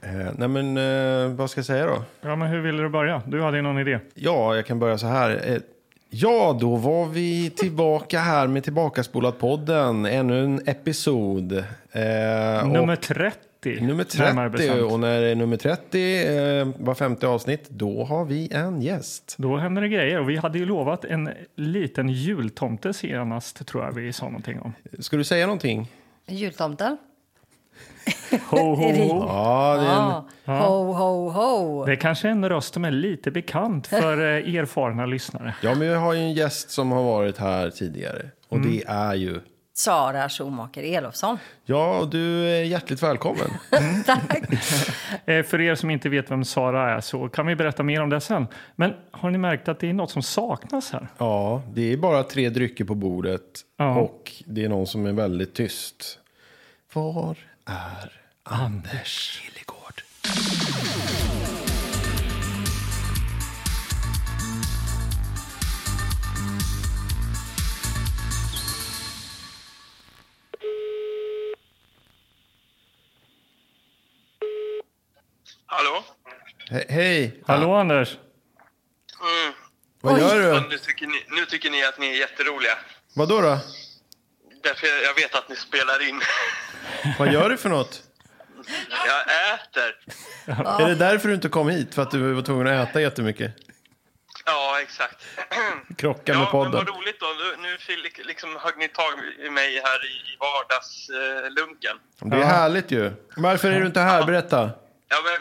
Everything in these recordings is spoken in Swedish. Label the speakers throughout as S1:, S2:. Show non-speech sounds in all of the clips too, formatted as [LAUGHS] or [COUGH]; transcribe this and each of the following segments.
S1: Eh, nej men eh, vad ska jag säga då?
S2: Ja, men hur ville du börja? Du hade ju någon idé.
S1: Ja, jag kan börja så här. Eh, Ja, då var vi tillbaka här med Tillbakaspolat-podden. Ännu en episod. Eh, och-
S2: Nummer 30.
S1: nummer
S2: närmare
S1: 30.
S2: bestämt.
S1: Och när det är nummer 30, eh, var femte avsnitt, då har vi en gäst.
S2: Då händer det grejer. Och vi hade ju lovat en liten jultomte senast, tror jag vi sa någonting om.
S1: Ska du säga någonting?
S3: Jultomten?
S2: Ho, ho, ho.
S1: Ja, det är en,
S3: Ja. Ah. Ho, ho, ho.
S2: Det är kanske en röst som är lite bekant för eh, erfarna lyssnare.
S1: ja men vi har ju en gäst som har varit här tidigare. Och det är ju...
S3: Sara Schumacher Elofsson.
S1: Ja, och du är hjärtligt välkommen.
S3: Tack.
S2: Eh, För er som inte vet vem Sara är så kan vi berätta mer om det sen. Men har ni märkt att det är något som saknas här?
S1: Ja, det är bara tre drycker på bordet
S2: Ja.
S1: och det är någon som är väldigt tyst. Var är Anders Gillegård?
S4: Hallå?
S1: He hej!
S2: Hallå Anders!
S4: Mm.
S1: Vad gör
S4: Och
S1: du?
S4: Nu, tycker ni, nu tycker ni att ni är jätteroliga.
S1: Vad då, då?
S4: Därför jag, jag vet att ni spelar in. [LAUGHS]
S1: Vad gör du för något?
S4: Jag äter.
S1: Är det därför du inte kom hit? För att du var tvungen att äta jättemycket?
S4: Ja, exakt. [CLEARS THROAT]
S1: Krocka med
S4: Ja, men
S1: podden.
S4: vad roligt då. Nu- Nu fick- liksom högg ni tag i mig här i vardagslunken.
S1: Det är härligt ju. Varför är du inte här? Berätta.
S4: Ja, men,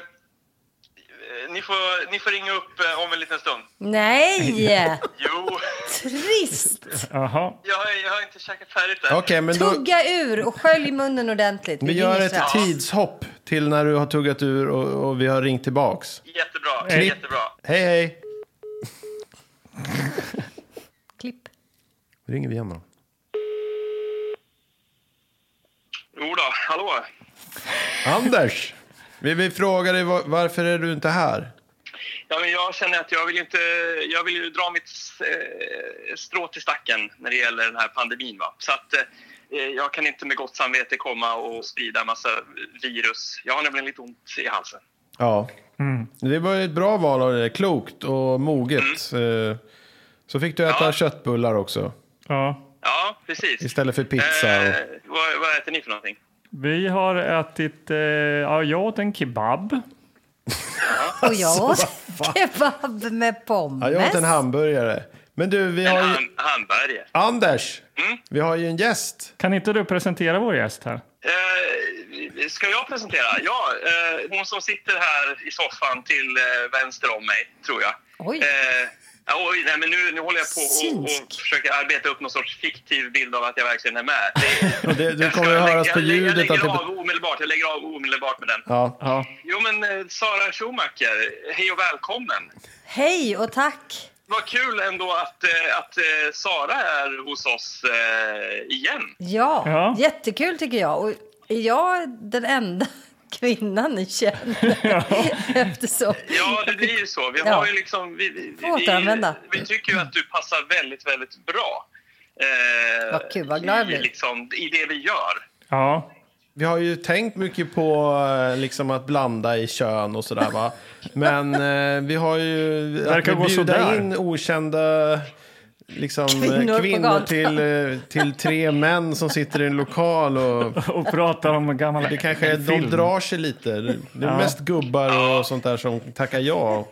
S4: eh, ni, får, ni får ringa upp eh, om en liten stund.
S3: Nej!
S4: Jo, [LAUGHS]
S3: Trist!
S2: Jaha,
S4: jag, har- jag har inte käkat färdigt än.
S1: Okej, men då...
S3: Tugga ur och skölj munnen ordentligt.
S1: Vi
S3: ringer
S1: gör ett
S3: strax.
S1: tidshopp till när du har tuggat ur och, och vi har ringt tillbaks.
S4: Jättebra.
S2: Klipp.
S4: jättebra.
S1: Hej, hej!
S3: Klipp.
S1: Nu ringer vi igen då.
S4: Jo då, hallå.
S1: Anders! Vi vill fråga dig var, varför är du inte här?
S4: Ja, men jag känner att jag vill, inte, jag vill ju dra mitt eh, strå till stacken när det gäller den här pandemin. Va? Så att, eh, jag kan inte med gott samvete komma och sprida en massa virus. Jag har nämligen lite ont i halsen.
S1: Ja. Mm. Det var ju ett bra val av dig. Klokt och moget. Eh, Så fick du äta
S4: Ja.
S1: köttbullar också.
S2: ja.
S4: Ja, precis.
S1: Istället för pizza. Och...
S4: Eh, vad, vad äter ni för någonting?
S2: Vi har ätit, eh, ja jag åt en kebab.
S3: Och jag åt kebab med pommes.
S1: Alltså, Ja, jag åt en hamburgare. Men du, vi
S4: En Mm?
S1: har ju...
S4: ham- hamburgare.
S1: Anders! Vi har ju en gäst.
S2: Kan inte du presentera vår gäst här?
S4: Eh, ska jag presentera? Ja, eh, hon som sitter här i soffan till eh, vänster om mig, tror jag.
S3: Oj.
S4: Eh, ja, oj, nej, men nu, nu håller jag på och, och
S3: Synsk.
S4: försöker arbeta upp någon sorts fiktiv bild av att jag verkligen är med.
S1: [LAUGHS]
S4: Det,
S1: Och det, det
S4: jag ska-
S1: kommer att
S4: jag
S1: höras
S4: lägger-
S1: på
S4: jag,
S1: ljudet
S4: jag
S1: att
S4: lägger
S1: det...
S4: av omedelbart. Jag lägger av omedelbart med den.
S1: Ja.
S2: Ja.
S4: Jo, men eh, Sara Schumacher, hej och välkommen.
S3: Hej och tack.
S4: Vad kul ändå att, eh, att eh, Sara är hos oss eh, igen.
S3: Ja,
S2: Ja.
S3: jättekul tycker jag. Och är jag den enda kvinnan ni känner? Eftersom...
S4: Ja, det blir ju så. Vi
S3: Ja.
S4: har ju liksom... Vi, vi,
S3: Får återanvända.
S4: Vi, vi tycker ju att du passar väldigt, väldigt bra. Eh,
S3: Vad kul, vad glad jag
S4: i,
S3: blir.
S4: liksom, I det vi gör.
S2: ja.
S1: Vi har ju tänkt mycket på eh, liksom att blanda i kön och sådär va. Men eh, vi har ju...
S2: Verkar
S1: att
S2: gå
S1: vi bjuda
S2: sådär.
S1: in okända liksom, eh,
S3: Kvinnor på
S1: kvinnor
S3: gatan.
S1: till, eh, till tre män som sitter i en lokal och
S2: Och pratar om gamla
S1: det kanske är, de
S2: film.
S1: drar sig lite. Det är mest gubbar och sånt där som tackar ja.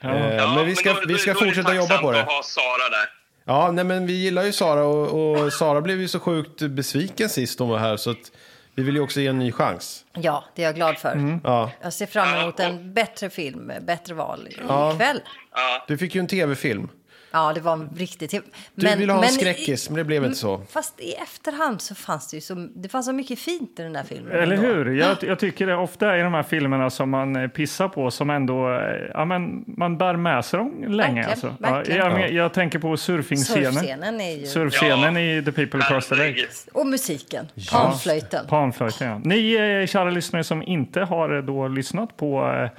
S1: Eh, men vi ska,
S4: då-
S1: vi ska
S4: då är det
S1: fortsätta jobba
S4: tacksamt
S1: på det.
S4: att ha Sara där.
S1: Ja, nej, men vi gillar ju Sara och, och Sara blev ju så sjukt besviken sist hon var här så att vi vill ju också ge en ny chans.
S3: Ja, det är jag glad för.
S1: Mm. Ja.
S3: Jag ser fram emot en bättre film, bättre val ikväll.
S4: Ja.
S1: Du fick ju en tv-film.
S3: Ja, det var en riktig timme.
S1: Du ville ha en skräckis, men det blev
S3: Mm.
S1: inte så.
S3: Fast i efterhand så fanns det ju så, det fanns så mycket fint i den där filmen.
S2: Eller
S3: ändå.
S2: hur? Jag, jag tycker det ofta är de här filmerna som man eh, pissar på som ändå, eh, ja men man bär med sig dem länge
S3: Verkligen,
S2: alltså. Ja,
S3: verkligen.
S2: jag, men- jag tänker på surfingscenen.
S3: Surfscenen är ju...
S2: Surfscenen i The People Across the Lake.
S4: Herregud.
S3: Och musiken. Panflöjten.
S2: Panflöjten, ja. Ni eh, kära lyssnare som inte har eh, då lyssnat på eh,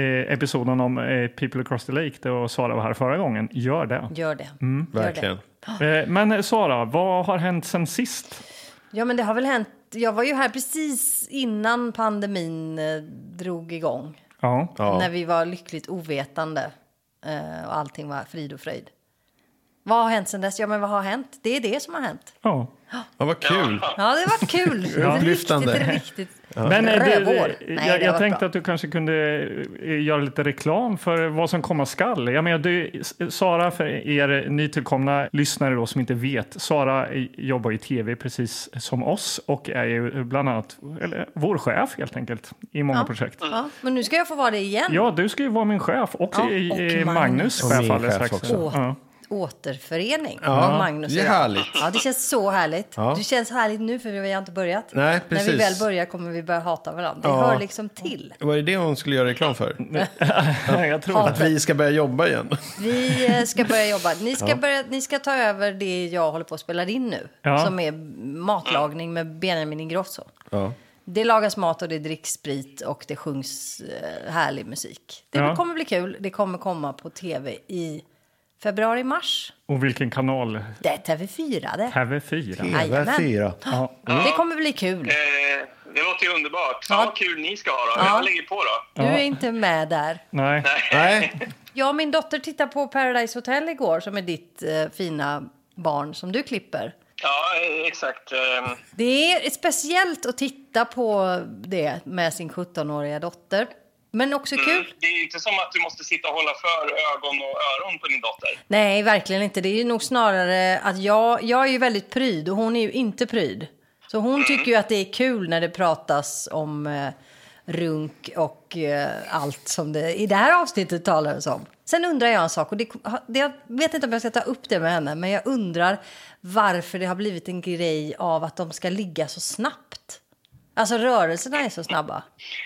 S2: eh, episoden om eh, People Across the Lake, då Sara var här förra gången, gör det.
S3: Gör det. Gör
S1: Mm. Verkligen.
S3: det.
S2: Eh, men eh, Sara, vad har hänt sen sist?
S3: Ja, men det har väl hänt jag var ju här precis innan pandemin eh, drog igång.
S2: Ja.
S1: Ja.
S3: När vi var lyckligt ovetande eh, och allting var frid och fröjd. Vad har hänt sen dess? Ja, men vad har hänt? Det är det som har hänt.
S2: ja.
S1: Ja, vad kul.
S3: Ja, det har varit kul.
S2: [LAUGHS]
S1: Upplyftande.
S3: Riktigt, riktigt.
S2: Men eh, det,
S3: Rövår.
S2: det-
S3: Nej,
S2: jag,
S3: det
S2: jag
S3: var
S2: tänkte
S3: bra.
S2: att du kanske kunde eh, göra lite reklam för vad som komma skall. Jag menar, du, Sara, för er nytillkomna lyssnare då som inte vet, Sara eh, jobbar i tv precis som oss och är ju bland annat eller, vår chef helt enkelt i många
S3: Ja.
S2: projekt.
S3: Ja, men nu ska jag få vara det igen.
S2: Ja, du ska ju vara min chef och,
S3: Ja,
S2: eh,
S3: och
S2: eh,
S3: Magnus.
S2: Magnus,
S1: Och
S2: chef
S1: min
S2: alldeles
S1: chef
S2: strax.
S1: också.
S3: Åh.
S2: Ja.
S3: Återförening.
S1: Ja,
S3: Ja, Magnus och
S1: det är
S3: jag.
S1: härligt.
S3: Ja, det känns så härligt.
S1: Ja.
S3: Det känns härligt nu för vi har inte börjat.
S1: Nej,
S3: När vi
S1: precis.
S3: väl börjar kommer vi börja hata varandra. Det
S1: Ja.
S3: hör liksom till.
S1: Var det det hon skulle göra reklam för?
S3: Mm.
S2: jag tror
S3: Ja.
S1: Att vi ska börja jobba igen?
S3: Vi eh, ska börja jobba. Ni ska, börja, ni ska ta över det jag håller på att spela in nu.
S2: Ja.
S3: Som är matlagning med Benjamin Ingrosso.
S1: Ja.
S3: Det lagas mat och det dricks sprit och det sjungs eh, härlig musik. Det
S2: Ja.
S3: kommer bli kul. Det kommer komma på tv i februari-mars.
S2: Och vilken kanal?
S3: Det är TV4 det.
S2: TV4.
S3: Jajamän.
S1: fyra.
S2: Ja.
S3: Det kommer bli kul.
S4: Eh, det låter ju underbart. Fan
S3: Ja.
S4: vad kul ni ska ha då.
S3: Ja.
S4: Jag lägger på då.
S3: Du är inte med där.
S2: Nej.
S1: Nej,
S3: Jag och min dotter tittade på Paradise Hotel igår som är ditt eh, fina barn som du klipper.
S4: Ja, eh, exakt. Eh,
S3: Det är speciellt att titta på det med sin 17-åriga dotter. Men också kul.
S4: mm. det är ju inte som att du måste sitta och hålla för ögon och öron på din dotter.
S3: Nej, verkligen inte. Det är ju nog snarare att jag, jag är ju väldigt pryd och hon är ju inte pryd. Så
S2: Mm.
S3: hon tycker ju att det är kul när det pratas om eh, runk och eh, allt som det i det här avsnittet talades om. Sen undrar jag en sak och det, det, jag vet inte om jag ska ta upp det med henne, men jag undrar varför det har blivit en grej av att de ska ligga så snabbt. Alltså rörelserna är så snabba.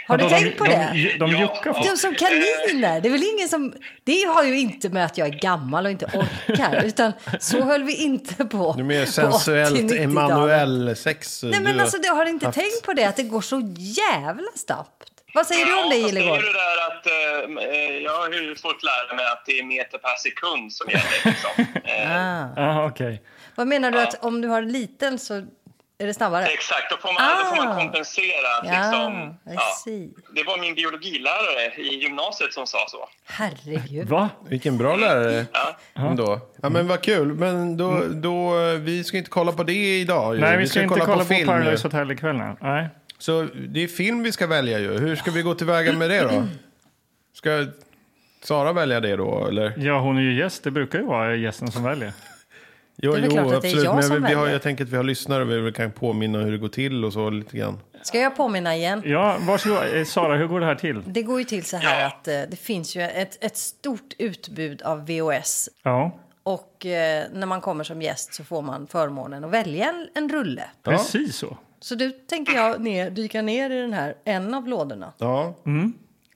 S3: Har du
S2: Vadå,
S3: tänkt på
S2: de,
S3: det?
S2: De, de,
S4: Ja.
S2: juckar fort.
S3: De som kaniner. Det är väl ingen som... Det har ju inte med att jag är gammal och inte
S1: [LAUGHS]
S3: orkar. Utan så höll vi inte på.
S1: du är mer
S3: på 80-,
S1: sensuellt
S3: 90-talet.
S1: Emanuel-sex.
S3: Nej
S1: du
S3: men alltså du har inte
S1: haft.
S3: tänkt på det? Att det går så jävla snabbt. Vad säger du om det
S4: fast är ju
S3: Gillegård?
S4: det där att eh, eh, jag har ju fått lära mig att det är meter per sekund som gäller. Liksom.
S3: [LAUGHS]
S4: Eh,
S3: Ah.
S2: Aha, okej.
S3: Vad menar du att om du har en liten så är det snabbare?
S4: exakt, då får man, då får
S3: Ah.
S4: man kompensera. att
S3: Ja,
S4: Liksom,
S3: I
S4: ja.
S3: see.
S4: Det var min biologilärare i gymnasiet som sa så.
S3: Herregud.
S2: Va?
S1: Vilken bra lärare
S4: Ja.
S1: ändå. Ja, men vad kul. Men då, då, eh, vi ska inte kolla på det idag. Ju.
S2: Nej, vi ska, inte kolla, på,
S1: film ju.
S2: Paradise Hotel ikväll. nej. Nej.
S1: Så det är film vi ska välja ju. Hur ska vi gå tillväga med det då? Ska Sara välja det då eller?
S2: Ja, hon är ju gäst. Det brukar ju vara gästen som väljer.
S1: Jo,
S3: Det är väl klart att det är jag
S1: Men
S3: som
S1: vi, vi har,
S3: väljer.
S1: jag tänker att vi har lyssnare och vi väl kan påminna hur det går till och så lite grann.
S3: Ska jag påminna igen?
S2: Ja, varsågod. Eh, Sara, hur går det här till?
S3: Det går ju till så här att eh, det finns ju ett, ett stort utbud av VOS
S2: Ja,
S3: Och eh, när man kommer som gäst så får man förmånen att välja en, en rulle.
S2: precis så.
S3: Så du tänker jag ner, dyka ner i den här, en av lådorna
S1: Ja.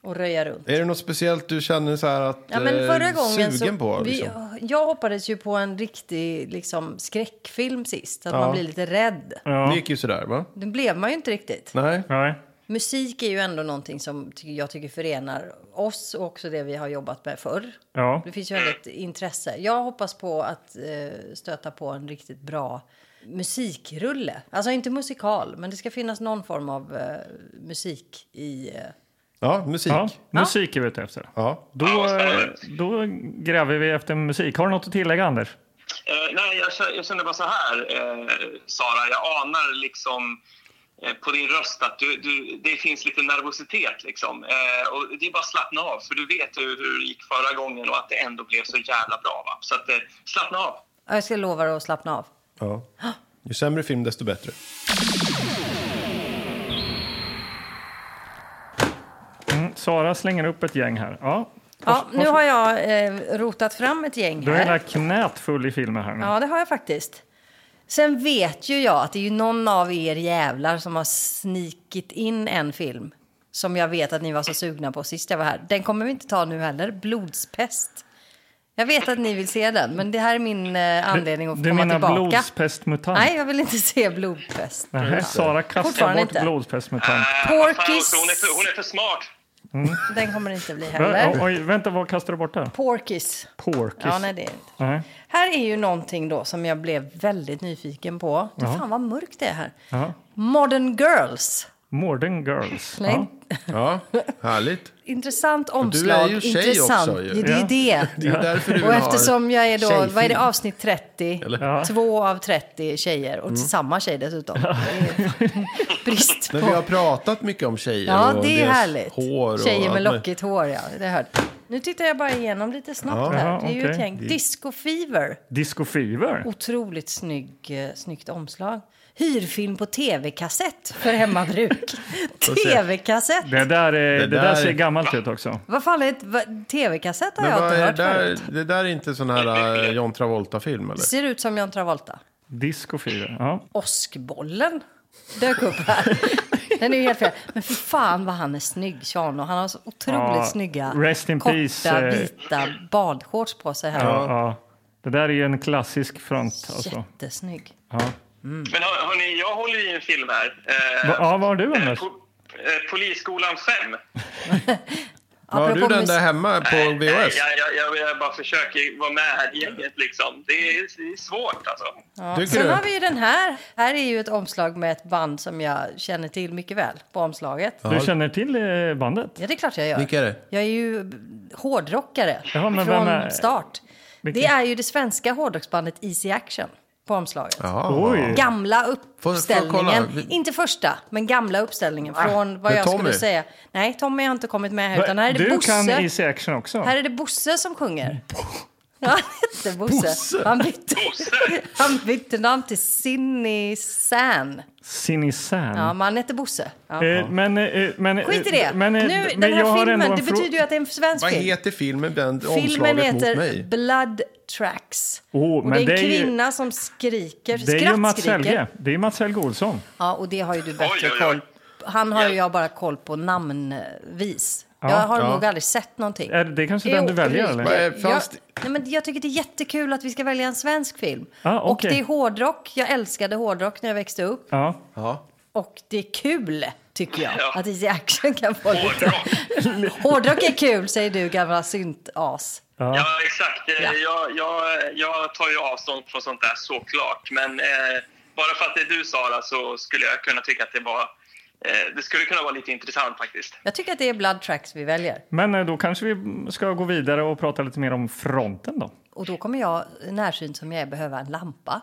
S3: och röja runt.
S1: Mm. Är det något speciellt du känner så här att
S3: Ja, men
S1: eh,
S3: förra gången
S1: sugen
S3: så,
S1: på?
S3: vi,
S1: Liksom?
S3: jag hoppades ju på en riktig liksom, skräckfilm sist, att man blir lite rädd.
S1: Det
S2: Ja.
S1: gick ju sådär va?
S3: Det blev man ju inte riktigt.
S1: Nej.
S2: Nej.
S3: Musik är ju ändå någonting som ty- jag tycker förenar oss och också det vi har jobbat med förr.
S2: Ja.
S3: Det finns ju väldigt intresse. Jag hoppas på att eh, stöta på en riktigt bra musikrulle. Alltså inte musikal, men det ska finnas någon form av eh, musik i... Eh,
S1: Ja, musik.
S2: ja,
S1: Ja.
S2: musik är vi ute efter.
S1: Ja.
S2: Då, eh, då gräver vi efter musik. Har du något att tillägga, Anders?
S4: Eh, nej, jag, kä- jag känner bara så här, eh, Sara. Jag anar liksom eh, på din röst att du, du, det finns lite nervositet. Liksom. Eh, och det är bara att slappna av, för du vet hur, hur det gick förra gången och att det ändå blev så jävla bra. Va? Så att, eh, slappna av.
S3: ja, jag ska lova dig att slappna av.
S1: Ju sämre film desto bättre.
S2: Mm, Sara slänger upp ett gäng här. Ja.
S3: Ja,
S2: Vars-
S3: nu
S2: vars-
S3: har jag eh, rotat fram ett gäng
S2: Du har hela
S3: här.
S2: knät full i filmer här nu.
S3: Ja, det har jag faktiskt. Sen vet ju jag att det är ju någon av er jävlar som har snikit in en film som jag vet att ni var så sugna på sist jag var här. Den kommer vi inte ta nu heller. Blodspest. Jag vet att ni vill se den, men det här är min eh, anledning att få
S2: du
S3: komma
S2: menar
S3: tillbaka.
S2: blodspestmutant?
S3: Nej, jag vill inte se blodpest.
S2: Nej, Sara kastar
S3: Fortfarande
S2: bort
S3: inte.
S2: blodspestmutant.
S4: Eh,
S3: Porkis.
S4: fan också, hon, är för, hon är för smart.
S3: Den kommer det inte bli
S2: Vä-
S3: heller.
S2: Oj, vänta, vad kastar du bort där?
S3: Porkis.
S2: Porkis.
S3: Ja, nej, det är det inte.
S2: Nej.
S3: Här är ju någonting då som jag blev väldigt nyfiken på. Du, fan vad mörkt det är här.
S2: Ja.
S3: Modern Girls.
S2: Modern Girls.
S3: [LAUGHS] Nej.
S1: Ja, härligt.
S3: Intressant omslag.
S1: ju tjej
S3: intressant.
S1: också ju.
S3: Ja, Det är
S2: Ja.
S3: det.
S1: Det är ju därför du
S3: Och
S1: vill
S3: eftersom
S1: ha
S3: jag är då,
S1: tjejfilm.
S3: vad är det, avsnitt 30?
S1: Eller? Mm.
S2: Ja.
S3: Två av 30 tjejer, och samma tjej dessutom. Det är [LAUGHS] Brist
S1: Men vi har
S3: på...
S1: pratat mycket om tjejer
S3: Ja,
S1: och
S3: det är
S1: deras
S3: härligt.
S1: hår. Och
S3: Tjejer med
S1: allt
S3: lockigt hår, ja. Det hörde. Nu tittar jag bara igenom lite snabbt
S1: Ja.
S3: här.
S2: Jaha,
S3: Det är ju ett
S2: okej.
S3: gäng. Disco Fever.
S2: Disco Fever.
S3: Oh. Otroligt snygg, eh, snyggt omslag. Hyrfilm på tv-kassett för hemmabruk. [LAUGHS] tv-kassett!
S2: Det där, är, det
S1: där-
S2: där ser gammalt ut också.
S3: Vad fan är ett va- tv-kassett har
S1: Men
S3: jag
S1: vad
S3: inte
S1: är
S3: hört
S1: det, där,
S3: förut.
S1: det där är inte sån här eh, John Travolta-film eller?
S3: Det ser ut som John Travolta.
S2: Disco Fever. Ja.
S3: Oskbollen dök upp här. [LAUGHS] Den är ju helt fel. Men för fan vad han är snygg, Sean. Och han har så otroligt
S2: Ja,
S3: snygga
S2: rest in
S3: korta,
S2: peace, eh.
S3: vita badshorts på sig här.
S2: Ja. Ja. Det där är ju en klassisk front. Alltså.
S3: Jättesnygg.
S2: Ja.
S4: Men hör, hörni, jag håller ju i en film här. Eh,
S2: Mm. Va, ja, vad har du
S4: eh,
S2: Anders?
S4: po- eh, Polisskolan 5.
S1: Har du
S3: Apropå
S1: den
S3: mus-
S1: där hemma på VHS?
S4: Eh, Jag, jag, jag, jag bara försöker vara med här i gänget liksom. Det är, det är svårt alltså.
S3: Ja.
S1: Tycker
S3: Sen
S1: du?
S3: har vi ju den här. Här är ju ett omslag med ett band som jag känner till mycket väl på omslaget.
S2: Du känner till eh, bandet?
S3: Ja, det är klart jag gör.
S1: Vilka är det?
S3: Jag är ju b- hårdrockare
S2: Jaha, men
S3: från
S2: vem är-
S3: start.
S2: Vilka?
S3: Det är ju det svenska hårdrocksbandet Easy Action på omslaget.
S1: Ja.
S2: Oj!
S3: Gamla
S1: får
S3: uppställningen,
S1: kolla? Vi- Ah,
S3: inte första, men gamla uppställningen från vad
S1: Med
S3: jag
S1: Tommy?
S3: skulle säga. Nej, Tommy har inte kommit med här, utan här är det
S2: Du kan
S3: Bosse.
S2: Easy Action också.
S3: Här är det Bosse
S2: [LAUGHS]
S3: som sjunger. Ja, han hette Bosse. Han bytte,
S4: Bosse?
S3: [LAUGHS] han bytte namn till Sinny San.
S2: Sinisan.
S3: Ja, men han hette Bosse. Ja.
S2: Mm. Eh, men, eh, men, eh,
S3: Skit i det.
S2: Men, eh,
S3: nu,
S2: men
S3: den
S2: jag
S3: här
S2: har
S3: filmen,
S2: ändå en
S3: det
S2: frå-
S3: betyder ju att det är en svensk
S1: Vad
S3: film.
S1: heter filmen? Den
S3: Filmen
S1: omslaget mot
S3: heter
S1: mig.
S3: Blood Tracks.
S2: Åh,
S3: och
S2: men
S3: det är
S2: det är
S3: en
S2: ju-
S3: kvinna som skriker,
S2: Det är ju Mats
S3: skrattskriker.
S2: Helge. Det är Mats Helge Olsson.
S3: Ja, och det har ju du bättre
S4: Oj, oj, oj.
S3: koll Han har ju jag bara koll på namnvis. jag har
S1: ja.
S3: nog aldrig sett någonting.
S2: Är det kanske den
S3: Jo,
S2: du väljer?
S3: Ulrika.
S1: Vad
S2: Eller?
S1: är-
S3: Jag,
S1: fanns det-
S3: nej, men jag tycker det är jättekul att vi ska välja en svensk film.
S2: Ah,
S3: Och
S2: okej.
S3: det är hårdrock. Jag älskade hårdrock när jag växte upp.
S2: Ja.
S1: Ja.
S3: Och det är kul, tycker jag,
S4: Ja.
S3: att Easy Action kan få lite...
S4: Hårdrock.
S3: [LAUGHS] hårdrock är kul, säger du, gamla syntas.
S2: Ja.
S4: Ja, exakt. Eh,
S3: Ja.
S4: Jag, jag, jag tar ju avstånd från sånt där såklart. Men eh, bara för att det är du Sara så skulle jag kunna tycka att det var eh, det skulle kunna vara lite intressant faktiskt.
S3: Jag tycker att det är Blood Tracks vi väljer.
S2: Men eh, då kanske vi ska gå vidare och prata lite mer om fronten då.
S3: Och då kommer jag, närsynt som jag är, behöva en lampa.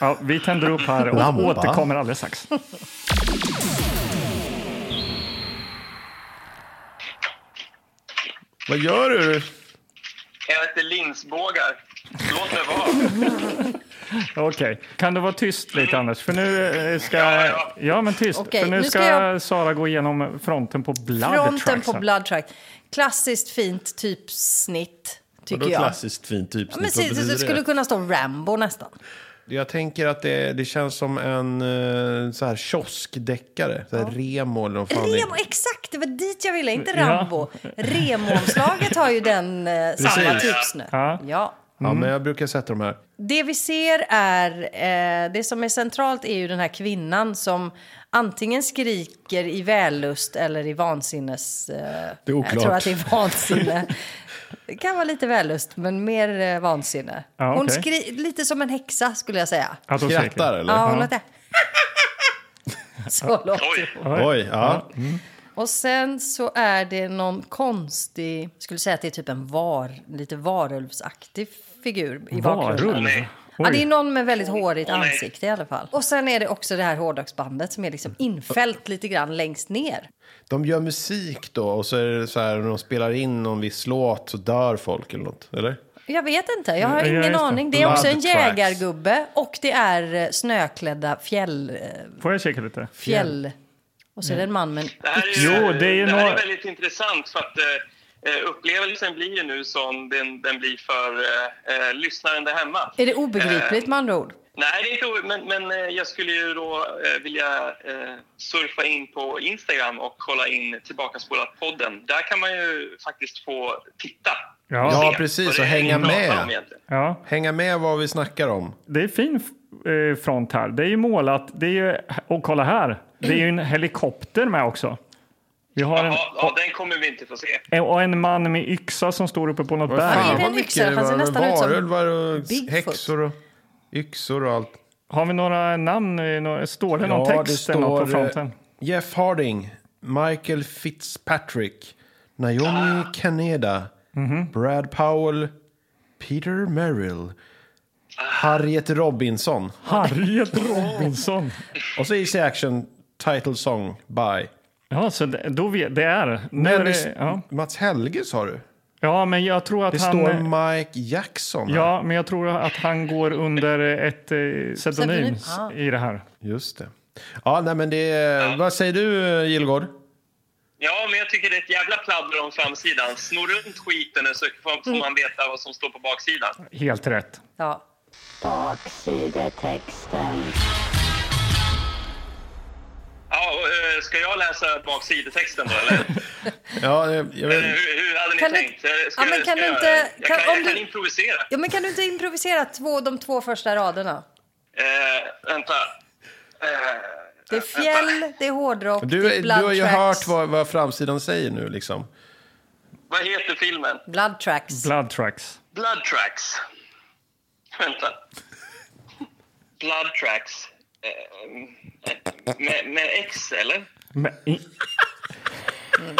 S2: Ja, vi tänder upp här och
S1: Lampa.
S2: återkommer alldeles strax.
S1: Vad gör du?
S4: Jag heter linsbågar. Låt mig vara.
S2: Okej. Kan du vara tyst lite, Anders? För nu eh, ska...
S4: Ja, ja.
S2: Ja, men tyst.
S3: Okej,
S2: För nu
S3: nu
S2: ska
S3: ska jag-
S2: Sara gå igenom fronten på Blood
S3: Fronten
S2: Tracks
S3: på
S2: här.
S3: Blood Tracks. Klassiskt fint typsnitt, tycker
S1: Vadå
S3: jag.
S1: klassiskt fint typ?
S3: Men se, det skulle kunna stå Rambo nästan.
S1: Jag tänker att det, det känns som en eh, så här kioskdeckare. Så här Remo eller vad fan det är.
S3: Remo, exakt! Det var dit jag ville, inte
S2: Ja.
S3: Rambo. Remo-omslaget har ju den eh, samma
S1: Precis.
S3: tips nu.
S2: Ja.
S3: Ja.
S1: Ja, men jag brukar sätta de här.
S3: Det vi ser är, eh, det som är centralt är ju den här kvinnan som antingen skriker i vällust eller i vansinnes... Eh,
S1: Det är oklart.
S3: Jag tror att det är vansinne. det kan vara lite vällust, men mer eh, vansinne.
S2: Ja,
S3: Hon
S2: okej.
S3: skri- lite som en häxa skulle jag säga.
S2: Att hon
S1: Skrattar
S2: skriker.
S1: eller?
S3: Ja, hon
S2: Ja.
S3: låter... [LAUGHS] Så låter
S4: Oj.
S1: Oj, ja.
S3: Och sen så är det någon konstig, jag skulle säga att det är typ en var, lite varulvsaktig figur i bakgrunden.
S2: Varulv?
S4: Nej.
S2: Oj.
S3: Ja, det är någon med väldigt hårigt
S4: Åh, nej.
S3: ansikte i alla fall. Och sen är det också det här hårdrocksbandet som är liksom infällt lite grann längst ner.
S1: De gör musik då och så är det så här när de spelar in någon viss låt så dör folk eller något. Eller?
S3: Jag vet inte, jag har
S2: Ja, just
S3: ingen
S2: det.
S3: aning. Det är också en
S1: Blood tracks.
S3: jägargubbe och det är eh, snöklädda fjäll... eh,
S2: Får jag kika lite?
S3: fjäll. Och så är det en man med en
S4: Det här är,
S2: Jo, det är ju
S4: här
S2: några-
S4: är väldigt intressant för att eh, eh, upplevelsen blir ju nu som den, den blir för eh, eh, lyssnaren där hemma.
S3: Är det obegripligt med andra ord?
S4: Nej, det är inte o- men, men eh, jag skulle ju då eh, vilja eh, surfa in på Instagram och kolla in Tillbakaspolat-podden. Där kan man ju faktiskt få titta.
S2: Ja.
S1: Ja,
S4: Se
S1: precis,
S4: vad det
S1: och
S4: är vi
S1: hänga
S4: pratar
S1: med.
S4: om egentligen.
S2: Ja.
S1: Hänga med vad vi snackar om.
S2: Det är fin eh, front här. Det är ju målat. Det är ju, och kolla här. Det är ju en helikopter med också. Vi har en,
S4: Ja, ja, den kommer vi inte få se.
S2: och en man med yxa som står uppe på något
S1: Vad
S2: berg.
S3: det är en
S1: vad
S3: yxa. Det
S1: mycket
S3: fanns ju
S1: var.
S3: nästan ut som
S1: Varulvar och
S3: Bigfoot.
S1: häxor och yxor och allt.
S2: Har vi några namn? eh, några- Står det någon
S1: Ja,
S2: text
S1: det
S2: eller något på
S1: står, eh, [LAUGHS]
S2: fronten?
S1: Jeff Harding, Michael Fitzpatrick, Naomi Kaneda,
S2: Mhm.
S1: Brad Powell, Peter Merrill, Harriet Robinson.
S2: Harriet Robinson.
S1: Och så Easy Action Title Song by.
S2: Ja, så det, då vet, det är. Nu är
S1: Men
S2: det,
S1: det,
S2: ja.
S1: Mats Helge sa du?
S2: ja, men jag tror att
S1: Det
S2: han...
S1: står
S2: eh,
S1: Mike Jackson. här.
S2: Ja, men jag tror att han går under ett eh, pseudonym
S3: Pseudonym,
S2: s-
S3: ah.
S2: i det här.
S1: Just det. Ja, nej, men det, vad säger du eh, Gillgård?
S4: Ja, men jag tycker det är ett jävla pladder om framsidan. Snor runt skiten så får får
S3: Mm.
S4: man veta vad som står på baksidan.
S2: Helt rätt.
S3: Ja.
S5: Baksidetexten.
S4: Ja, och, eh, ska jag läsa baksidetexten då,
S1: [LAUGHS]
S4: eller?
S1: Ja, eh, jag
S4: Eller
S1: vet.
S4: hur, hur hade ni
S3: Kan du-
S4: tänkt? Eh, Ska,
S3: Ja, men kan
S4: ska
S3: du inte-
S4: Jag,
S3: kan-
S4: jag,
S3: om
S4: kan, jag
S3: du-
S4: kan improvisera.
S3: ja, men kan du inte improvisera två, de två första raderna?
S4: Eh, vänta. Eh,
S3: Det är fjäll, det är hårdrock,
S1: Du,
S3: det är
S1: du
S3: typ blood
S1: har ju
S3: tracks.
S1: hört vad, vad framsidan säger nu liksom.
S4: vad heter filmen?
S3: Blood tracks.
S2: Blood tracks.
S4: Blood Tracks. [LAUGHS] Vänta. Blood Tracks. Eh, eh, med, med X, eller?
S2: Men, i-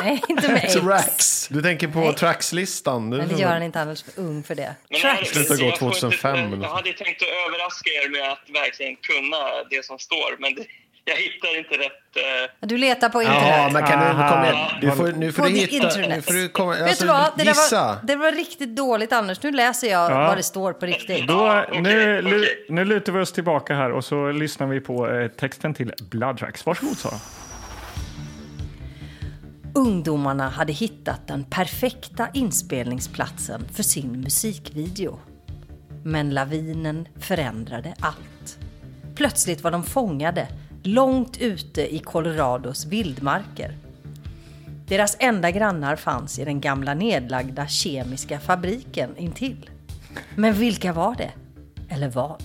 S3: Nej, inte
S1: [LAUGHS]
S3: med X.
S1: Tracks. Du tänker på trackslistan. Du,
S3: Men det gör han inte, han är alldeles för ung för det.
S4: Men jag-
S3: Tracks.
S1: Sluta gå
S4: jag får
S1: 2005
S4: inte-
S1: eller något.
S4: Jag hade tänkt att överraska er med att verkligen kunna det som står, men det, jag hittar inte rätt... Eh,
S3: Du letar på internet.
S1: Ja, men kan du, kom igen.
S2: Aha.
S1: Du får, nu får
S3: på
S1: du
S3: the
S1: hitta...
S3: internet.
S1: Nu får du komma,
S3: Vet
S1: alltså,
S3: du vad? Det, där
S1: gissa.
S3: var, det var riktigt dåligt Anders. Nu läser jag
S2: Ja.
S3: vad det står på riktigt.
S2: då,
S4: Ja, okej,
S2: nu, lu-
S4: okej.
S2: nu lutar vi oss tillbaka här och så lyssnar vi på eh, texten till Blood tracks. Varsågod Sara.
S3: Ungdomarna hade hittat den perfekta inspelningsplatsen för sin musikvideo. Men lavinen förändrade allt. Plötsligt var de fångade, långt ute i Colorados vildmarker. Deras enda grannar fanns i den gamla nedlagda kemiska fabriken intill. Men vilka var det? Eller vad?